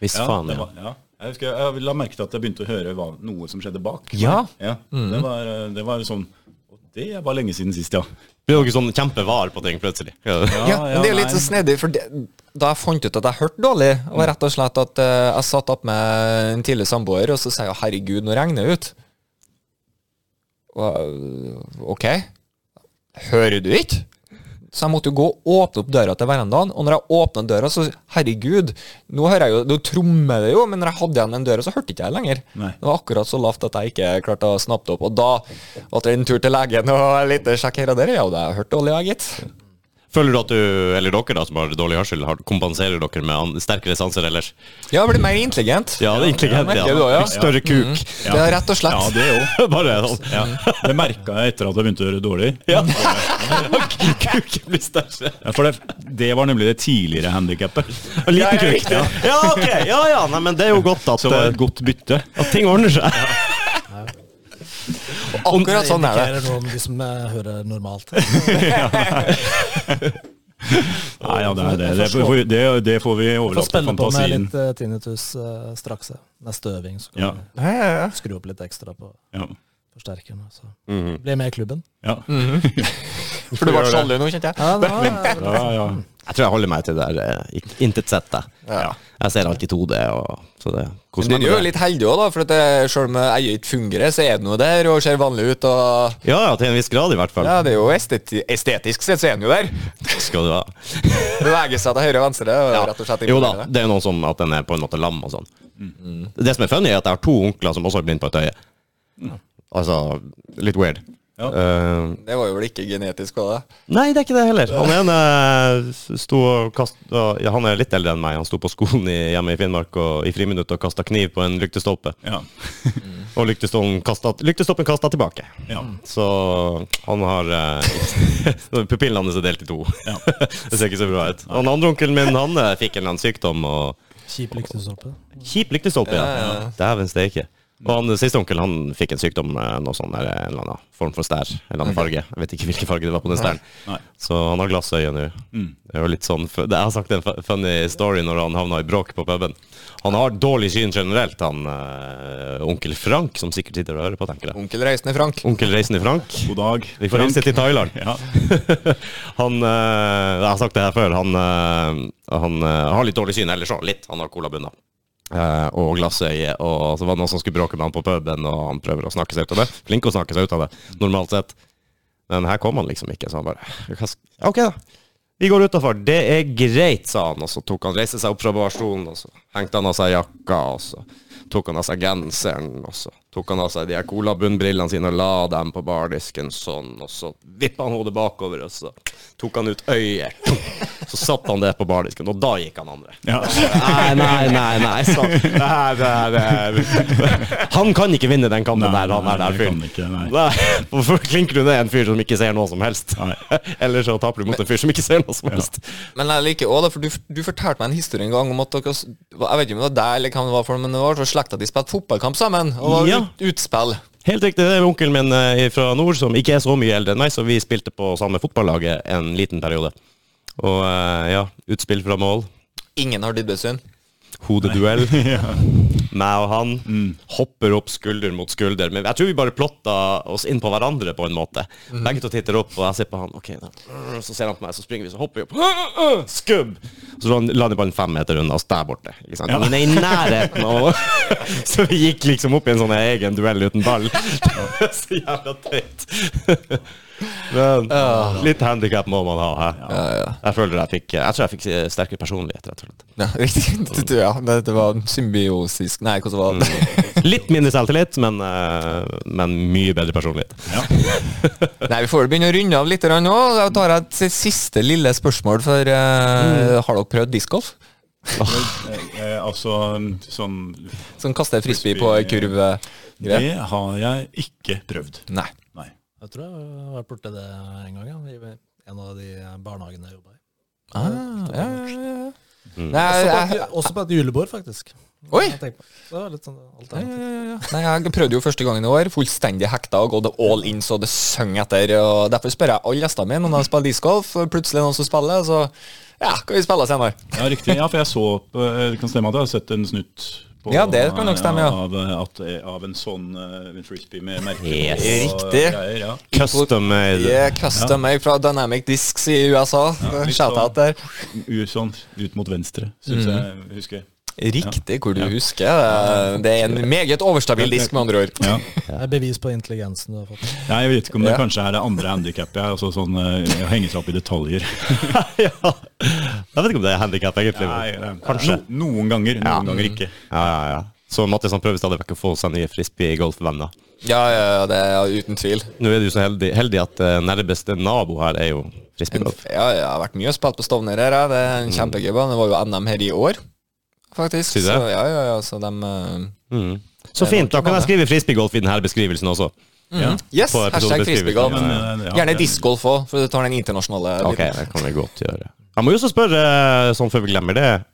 Speaker 1: Hvis
Speaker 3: Ja,
Speaker 1: faen,
Speaker 3: det
Speaker 1: ja.
Speaker 3: var, ja. Jeg husker jeg, jeg la merke til at jeg begynte å høre hva, noe som skjedde bak.
Speaker 2: Ja.
Speaker 1: Mm.
Speaker 3: det, var, eh, det var sånn og Det er bare lenge siden sist, ja.
Speaker 1: Blir dere sånn kjempevar på ting plutselig? Ja.
Speaker 2: Ja, men det er jo litt
Speaker 3: nei.
Speaker 2: så snedig, for det, da jeg fant ut at jeg hørte dårlig, var rett og slett at eh, jeg satt opp med en tidligere samboer, og så sier jeg 'herregud, nå regner det ut'. Og, eh, ok. Hører du ikke? Så jeg måtte jo gå og åpne opp døra til verandaen, og når jeg åpna døra, så Herregud, nå hører jeg jo Nå trommer det jo, men når jeg hadde igjen den døra, så hørte ikke jeg lenger.
Speaker 3: Nei.
Speaker 2: Det var akkurat så lavt at jeg ikke klarte å snappe det opp. Og da var det en tur til legen og litt sjekk her og der. Ja, det har jeg hørt dårlig, jeg, gitt.
Speaker 1: Føler du at du, eller dere da, som har dårlig hørsel, har- kompenserer dere med an sterkere sanser ellers?
Speaker 2: Ja, blir mer intelligent.
Speaker 1: Ja, det er intelligent,
Speaker 2: merker
Speaker 1: ja.
Speaker 2: du også, ja.
Speaker 1: Litt Større kuk.
Speaker 2: Det er rett og slett.
Speaker 3: Ja, det òg.
Speaker 1: Bare sånn.
Speaker 3: Ja. Det merka jeg etter at jeg begynte å høre dårlig.
Speaker 1: Ja. Kuken blir større.
Speaker 3: Ja, For det, det var nemlig det tidligere handikappet.
Speaker 1: En liten kuk. Ja, ok. Ja, ja. Nei, men det er jo godt at,
Speaker 3: Så var det et godt bytte.
Speaker 1: at ting ordner seg.
Speaker 2: Akkurat sånn er det.
Speaker 4: indikerer noe om de som eh, hører normalt.
Speaker 3: Nei, ja, det, er det.
Speaker 4: Jeg
Speaker 3: Det,
Speaker 4: forstår.
Speaker 3: får- det, det får vi
Speaker 4: Få
Speaker 3: overlate til
Speaker 4: spenne på med
Speaker 3: fantasien.
Speaker 4: litt eh, tinnitus eh, straks. eh. Neste øving så kan
Speaker 3: Ja.
Speaker 4: vi skru opp litt ekstra på
Speaker 3: Ja.
Speaker 4: forsterkeren. Så. Bli med i klubben.
Speaker 3: Ja.
Speaker 1: Mhm.
Speaker 2: For du ble sjalu nå, kjente jeg.
Speaker 4: Ja, nå, eh,
Speaker 3: Ja, ja.
Speaker 1: Jeg tror jeg holder meg til det der eh, ik- intetshette. Ja. Jeg ser alltid 2D, og så det
Speaker 2: Men
Speaker 1: Hvordan
Speaker 2: du er jo litt heldig òg, da. For at det- selv om jeg ikke fungerer, så er det noe der og ser vanlig ut. Og
Speaker 1: Ja, ja, til en viss grad, i hvert fall.
Speaker 2: ja, det er jo esteti estetisk sett, så er den jo der.
Speaker 1: Skal du ha.
Speaker 2: Beveger seg til høyre og venstre. Og
Speaker 1: Ja.
Speaker 2: rett og slett
Speaker 1: Jo da,
Speaker 2: imponerende.
Speaker 1: det er jo noen som at den er på en måte lam og sånn. Det som er funny, er at jeg har to onkler som også er blind på et øye. Altså, litt weird.
Speaker 3: Ja.
Speaker 1: Eh,
Speaker 2: Det var jo vel ikke genetisk, var det?
Speaker 1: Nei, det er ikke det heller. Han ene eh, sto og kast, og- ja, Han er litt eldre enn meg. Han sto på skolen i, hjemme i Finnmark og, i friminuttet og kasta kniv på en lyktestolpe.
Speaker 3: Ja.
Speaker 1: Og lyktestolpen kasta, lyktestolpen kasta tilbake.
Speaker 3: Ja.
Speaker 1: Så han har eh, Pupillen hans er delt i to.
Speaker 3: Ja.
Speaker 1: det ser ikke så bra ut. Og den andre onkelen min han eh, fikk en eller annen sykdom. og
Speaker 4: Kjip lyktestolpe.
Speaker 1: Kjip lyktestolpe, ja. Dæven steike. Og han siste onkel han fikk en sykdom, eh, noe sånn der, en eller annen form for stær. En eller annen farge. Jeg vet ikke hvilken farge det var på den stæren.
Speaker 3: Nei.
Speaker 1: Så han har glassøye nå. Det er jo litt sånn, fu- det- Jeg har sagt en fu- funny story når han havna i bråk på puben. Han har dårlig syn generelt, han eh, onkel Frank, som sikkert sitter og hører på, tenker jeg.
Speaker 2: Onkel Reisende Frank.
Speaker 1: Onkel Reisende Frank.
Speaker 3: God dag.
Speaker 1: Vi får hilse til Thailand.
Speaker 3: Ja.
Speaker 1: han eh, Jeg har sagt det her før. Han, eh, han eh, har litt dårlig syn ellers òg. Litt. Han har colabunner. Uh, og glassøye. Og så var det noen som skulle bråke med han på puben, og han prøver å snakke seg ut av det. Flink å snakke seg ut av det, normalt sett. Men her kom han liksom ikke, så han bare "Hva sk- OK, da. Vi går utafor. Det er greit, sa han. Og så tok han reiste seg opp fra barstolen, og så hengte han av seg jakka, og så tok han av seg genseren, og så tok han av seg de her colabunnbrillene sine og la dem på bardisken sånn, og så vippa han hodet bakover, og så tok han ut øyet. Så satte han det på bardisken, og da gikk han andre.
Speaker 3: Ja.
Speaker 1: Nei, nei, nei, nei. sa
Speaker 3: Sånn.
Speaker 1: han. det er, det er. Han kan ikke vinne den kampen
Speaker 3: Nei,
Speaker 1: der, han
Speaker 3: nei,
Speaker 1: er der
Speaker 3: det
Speaker 1: fyren.
Speaker 3: kan ikke, nei.
Speaker 1: Nei, Hvorfor klinker du ned en fyr som ikke ser noe som helst?
Speaker 3: Nei.
Speaker 1: Eller så taper du mot en fyr som ikke ser noe som helst.
Speaker 2: Men jeg liker også det, for du, du fortalte meg en historie en gang om at dere s- Jeg vet ikke om det var deg eller hvem det var, for men det var så slekta de spilte fotballkamp sammen. Og det
Speaker 1: Ja.
Speaker 2: var ut, utspill.
Speaker 1: Helt riktig. Det er onkelen min eh, fra nord som ikke er så mye eldre enn meg, så vi spilte på samme fotballaget en liten periode. Og eh, ja, utspill fra mål,
Speaker 2: Ingen har dybdesyn.
Speaker 1: hodeduell. meg og han, hopper opp skulder mot skulder. Men jeg tror vi bare plotta oss inn på hverandre på en måte. Begge to titter opp, og jeg ser på han. Ok, da. øh, Så ser han på meg, så springer vi, så hopper vi opp. Øh, Skubb! Så la- lander ballen fem meter unna oss der borte. Ikke sant? Ingen er i nærheten av å- Så vi gikk liksom opp i en sånn egen duell uten ball. så jævla teit. Men litt handikap må man ha. Hæ? Jeg føler jeg fikk Jeg tror jeg fikk eh, sterkere personlighet, rett og slett.
Speaker 2: Ja, riktig. Det- Ja, dette var symbiosisk Nei, hvordan var
Speaker 1: Mm.
Speaker 2: det?
Speaker 1: Litt mindre selvtillit, men, eh, men mye bedre personlighet.
Speaker 2: Nei, vi får vel begynne å runde av litt grann nå. Da tar jeg et siste lille spørsmål, for eh, har dere prøvd discgolf?
Speaker 3: Eh, altså sånn
Speaker 2: Som kaster frisbee på ei kurv? eh, greier?
Speaker 3: Det har jeg ikke prøvd.
Speaker 2: Nei.
Speaker 3: Nei.
Speaker 4: Jeg tror jeg har vært borti det en gang, ja. i en av de barnehagene jeg jobba i.
Speaker 2: Ah, ja, ja, ja, ja.
Speaker 4: Også
Speaker 3: Mm. Altså,
Speaker 2: Nei,
Speaker 4: på,
Speaker 2: jeg,
Speaker 4: et, også på et julebord, faktisk.
Speaker 2: oi!
Speaker 4: Jeg tenker på. Det var litt sånn
Speaker 2: Ja,
Speaker 4: alternativ.
Speaker 2: ja, ja. Nei, Jeg prøvde jo første gangen i år, fullstendig hekta og gått all in så det søng etter. og Derfor spør jeg alle gjestene mine om de spiller discgolf. og Plutselig er det noen som spiller, så ja, kan vi spille senere?
Speaker 3: Ja, riktig. Ja, for jeg så på eh, Det kan stemme at jeg har sett en snutt på,
Speaker 2: Ja, det kan nok stemme, ja.
Speaker 3: Av, eh, at, eh, av en sånn eh, frisbee med merker
Speaker 1: Yes.
Speaker 3: og
Speaker 2: Riktig.
Speaker 3: greier. Ja.
Speaker 1: Custom made.
Speaker 2: Yeah, custom made fra Dynamic Discs i USA.
Speaker 3: Ja, litt
Speaker 2: Shout-out der.
Speaker 3: U- Sånn ut mot venstre,
Speaker 2: Mm.
Speaker 3: syns jeg husker.
Speaker 2: Riktig hvor du husker. det. Det er en meget overstabil disk, med andre ord.
Speaker 3: Ja.
Speaker 4: Det er bevis på intelligensen du har fått.
Speaker 3: Nei, jeg vet ikke om det
Speaker 2: Ja.
Speaker 3: kanskje er det andre handikappet jeg altså sånn eh, å henge seg opp i detaljer.
Speaker 1: ja. Jeg vet ikke om det er handikap, egentlig. men-
Speaker 3: Nei, det er-
Speaker 1: Kanskje.
Speaker 3: No, noen ganger, noen ganger ikke.
Speaker 1: Ja, ja, ja. Så Mattis han prøver stadig vekk å få seg nye frisbee-golfvenner.
Speaker 2: Ja, ja, ja, det er uten tvil.
Speaker 1: Nå er du så heldig, heldig at eh, nærmeste nabo her er jo frisbeegolf.
Speaker 2: Ja, jeg har vært mye og spilt på Stovner her. jeg. Det er en kjempegøy bane. Det var jo NM her i år, faktisk.
Speaker 1: Sier du
Speaker 2: Så,
Speaker 1: det?
Speaker 2: ja, ja, ja, så dem, eh,
Speaker 1: Mm. Så fint, da kan jeg skrive frisbeegolf i denne beskrivelsen også.
Speaker 3: Ja.
Speaker 2: mm. Yes,
Speaker 1: På
Speaker 2: hashtag
Speaker 1: episodebeskrivelsen.
Speaker 2: frisbeegolf.
Speaker 1: eh, Ja,
Speaker 3: ja, ja.
Speaker 2: Gjerne discgolf òg, for du tar den internasjonale.
Speaker 1: Ok,
Speaker 2: biten.
Speaker 1: det kan vi godt gjøre. Jeg må jo også spørre, sånn før vi glemmer det,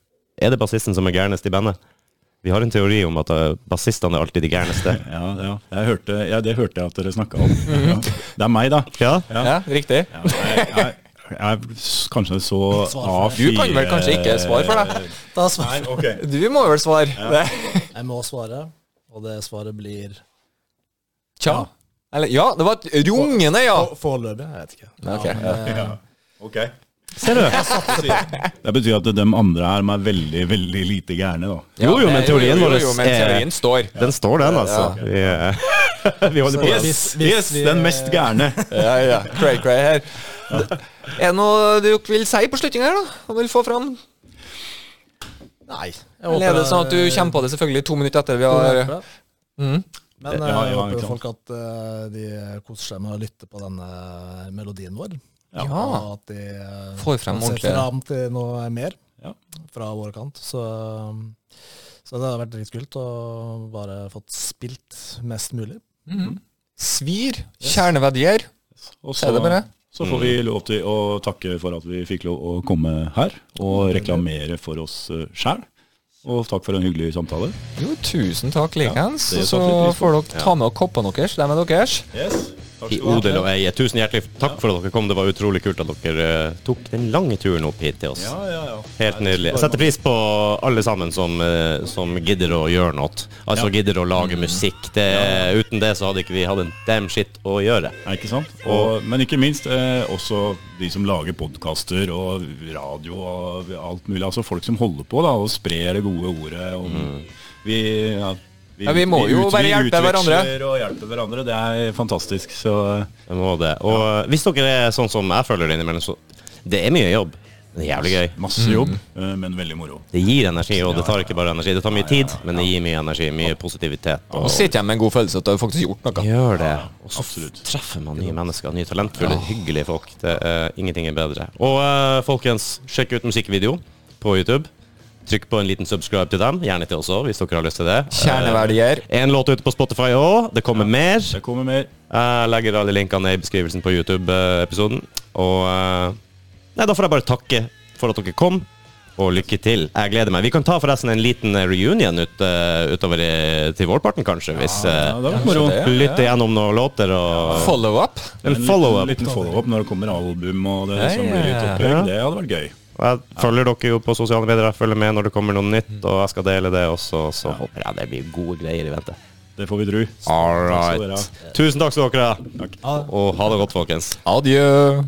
Speaker 1: er det bassisten som er gærnest i bandet? Vi har en teori om at eh, bassistene er alltid de gærneste.
Speaker 3: Ja, ja. Jeg hørte, ja, det hørte jeg at dere snakka om. Ja. Det er meg, da.
Speaker 1: Ja?
Speaker 2: Ja, riktig.
Speaker 3: Ja, jeg, jeg, jeg s- kanskje så
Speaker 4: Svar
Speaker 2: Du kan vel kanskje ikke svare for det?
Speaker 4: Da svarer jeg.
Speaker 3: Ok.
Speaker 2: Du må vel svare. Det.
Speaker 4: Jeg må svare, og det svaret blir
Speaker 2: Tja. Eller ja, det var et rungende ja.
Speaker 4: Å, Foreløpig, jeg vet ikke.
Speaker 2: Ok,
Speaker 4: Ja, men, eh,
Speaker 3: Ok.
Speaker 1: Ser du?
Speaker 3: Det betyr at de andre her er veldig, veldig lite gærne, da.
Speaker 1: Jo, jo, men
Speaker 2: det-
Speaker 1: teorien
Speaker 2: jo,
Speaker 1: vår
Speaker 2: jo, men teorien står.
Speaker 1: Den står, den, altså. Vi, eh, vi holder på den.
Speaker 4: hvis- hvis vi-
Speaker 3: gærne.
Speaker 2: Ja, ja. Cray, cray her. Er det noe du vil si på slutningen her, da? Og vil få fram?
Speaker 4: Nei. Jeg
Speaker 2: Eller er det sånn at du kommer på det selvfølgelig to minutter etter vi har Mm.
Speaker 3: Ja,
Speaker 4: Men eh,
Speaker 3: ja,
Speaker 4: jeg
Speaker 3: ja,
Speaker 4: håper
Speaker 3: ikke
Speaker 4: jo
Speaker 3: sant.
Speaker 4: folk at eh, de koser seg med å lytte på denne melodien vår.
Speaker 2: Ja.
Speaker 4: Og at de eh,
Speaker 2: Får frem
Speaker 4: kan se
Speaker 2: ordentlig-
Speaker 4: fram til noe mer
Speaker 3: Ja.
Speaker 4: fra vår kant. Så, eh, så det hadde vært dritkult å bare fått spilt mest mulig.
Speaker 2: Mm-hmm. Svir, kjerneverdier.
Speaker 3: Og
Speaker 2: Er det bare?
Speaker 3: så, så får vi lov til å takke for at vi fikk lov å komme her og reklamere for oss sjæl. Og takk for en hyggelig samtale.
Speaker 2: Jo, tusen takk likeens.
Speaker 3: det
Speaker 2: så
Speaker 3: satte vi pris
Speaker 2: får dere ta med koppene deres. De er deres.
Speaker 3: Yes. Takk
Speaker 1: I odel og eie. Tusen hjertelig takk for at dere kom. Det var utrolig kult at dere eh, tok den lange turen opp hit til oss.
Speaker 3: Ja, ja, ja.
Speaker 1: Helt nydelig. Jeg setter pris på alle sammen som, eh, som gidder å gjøre noe. Altså gidder å lage musikk. Det, uten det så hadde ikke vi hatt en damn shit å gjøre.
Speaker 3: Ja, Ikke sant? Og, men ikke minst eh, også de som lager podkaster og radio og alt mulig. Altså folk som holder på da, og sprer det gode ordet. Og vi, ja,
Speaker 2: Mm. Ja, vi må jo bare hjelpe
Speaker 3: utveksler
Speaker 2: hverandre.
Speaker 3: Og hjelpe hverandre. Det er fantastisk. Så
Speaker 1: Det må det. Og eh, hvis dere er sånn som jeg føler det innimellom, så Det er mye jobb. Det er jævlig gøy.
Speaker 3: masse jobb,
Speaker 2: Mm.
Speaker 3: eh, men veldig moro.
Speaker 1: Det gir energi, og det tar ikke bare energi. Det tar mye tid, men det gir mye energi. Mye positivitet.
Speaker 2: Og
Speaker 1: Og
Speaker 2: sitter jeg med en god følelse at du har faktisk gjort noe.
Speaker 1: gjør det. Og så
Speaker 3: Absolutt.
Speaker 1: treffer man nye mennesker. Nye talentfulle, hyggelige folk. Det, er- ingenting er bedre. Og eh, folkens, sjekk ut musikkvideo på YouTube. Trykk på en liten subscribe til dem. Gjerne til oss òg, hvis dere har lyst til det. Eh,
Speaker 2: Kjerneverdier.
Speaker 1: En låt ute på Spotify òg. Det kommer mer.
Speaker 3: Det kommer mer.
Speaker 1: Jeg legger alle linkene i beskrivelsen på YouTube-episoden. Og eh, Nei, da får jeg bare takke for at dere kom, og lykke til. Jeg gleder meg. Vi kan ta forresten en liten reunion ut, eh, utover i, til vårparten, kanskje, hvis
Speaker 3: Ja,
Speaker 1: uh,
Speaker 3: det var moro.
Speaker 2: Eh, det, ja.
Speaker 1: Lytter gjennom noen låter og
Speaker 2: Follow up.
Speaker 1: En follow-up.
Speaker 3: liten, liten follow-up når det kommer album og det som blir litt
Speaker 2: Ja, ja, ja.
Speaker 3: opplegg. Det hadde vært gøy.
Speaker 1: Og Jeg følger dere jo på sosiale medier, jeg følger med når det kommer noe nytt, og jeg skal dele det også, så håper jeg det blir gode greier i vente.
Speaker 3: Det får vi tru.
Speaker 1: All
Speaker 3: Takk skal
Speaker 1: right.
Speaker 3: dere ha.
Speaker 1: Tusen takk skal dere ha.
Speaker 3: Takk.
Speaker 1: Og ha det godt, folkens.
Speaker 2: Adjø.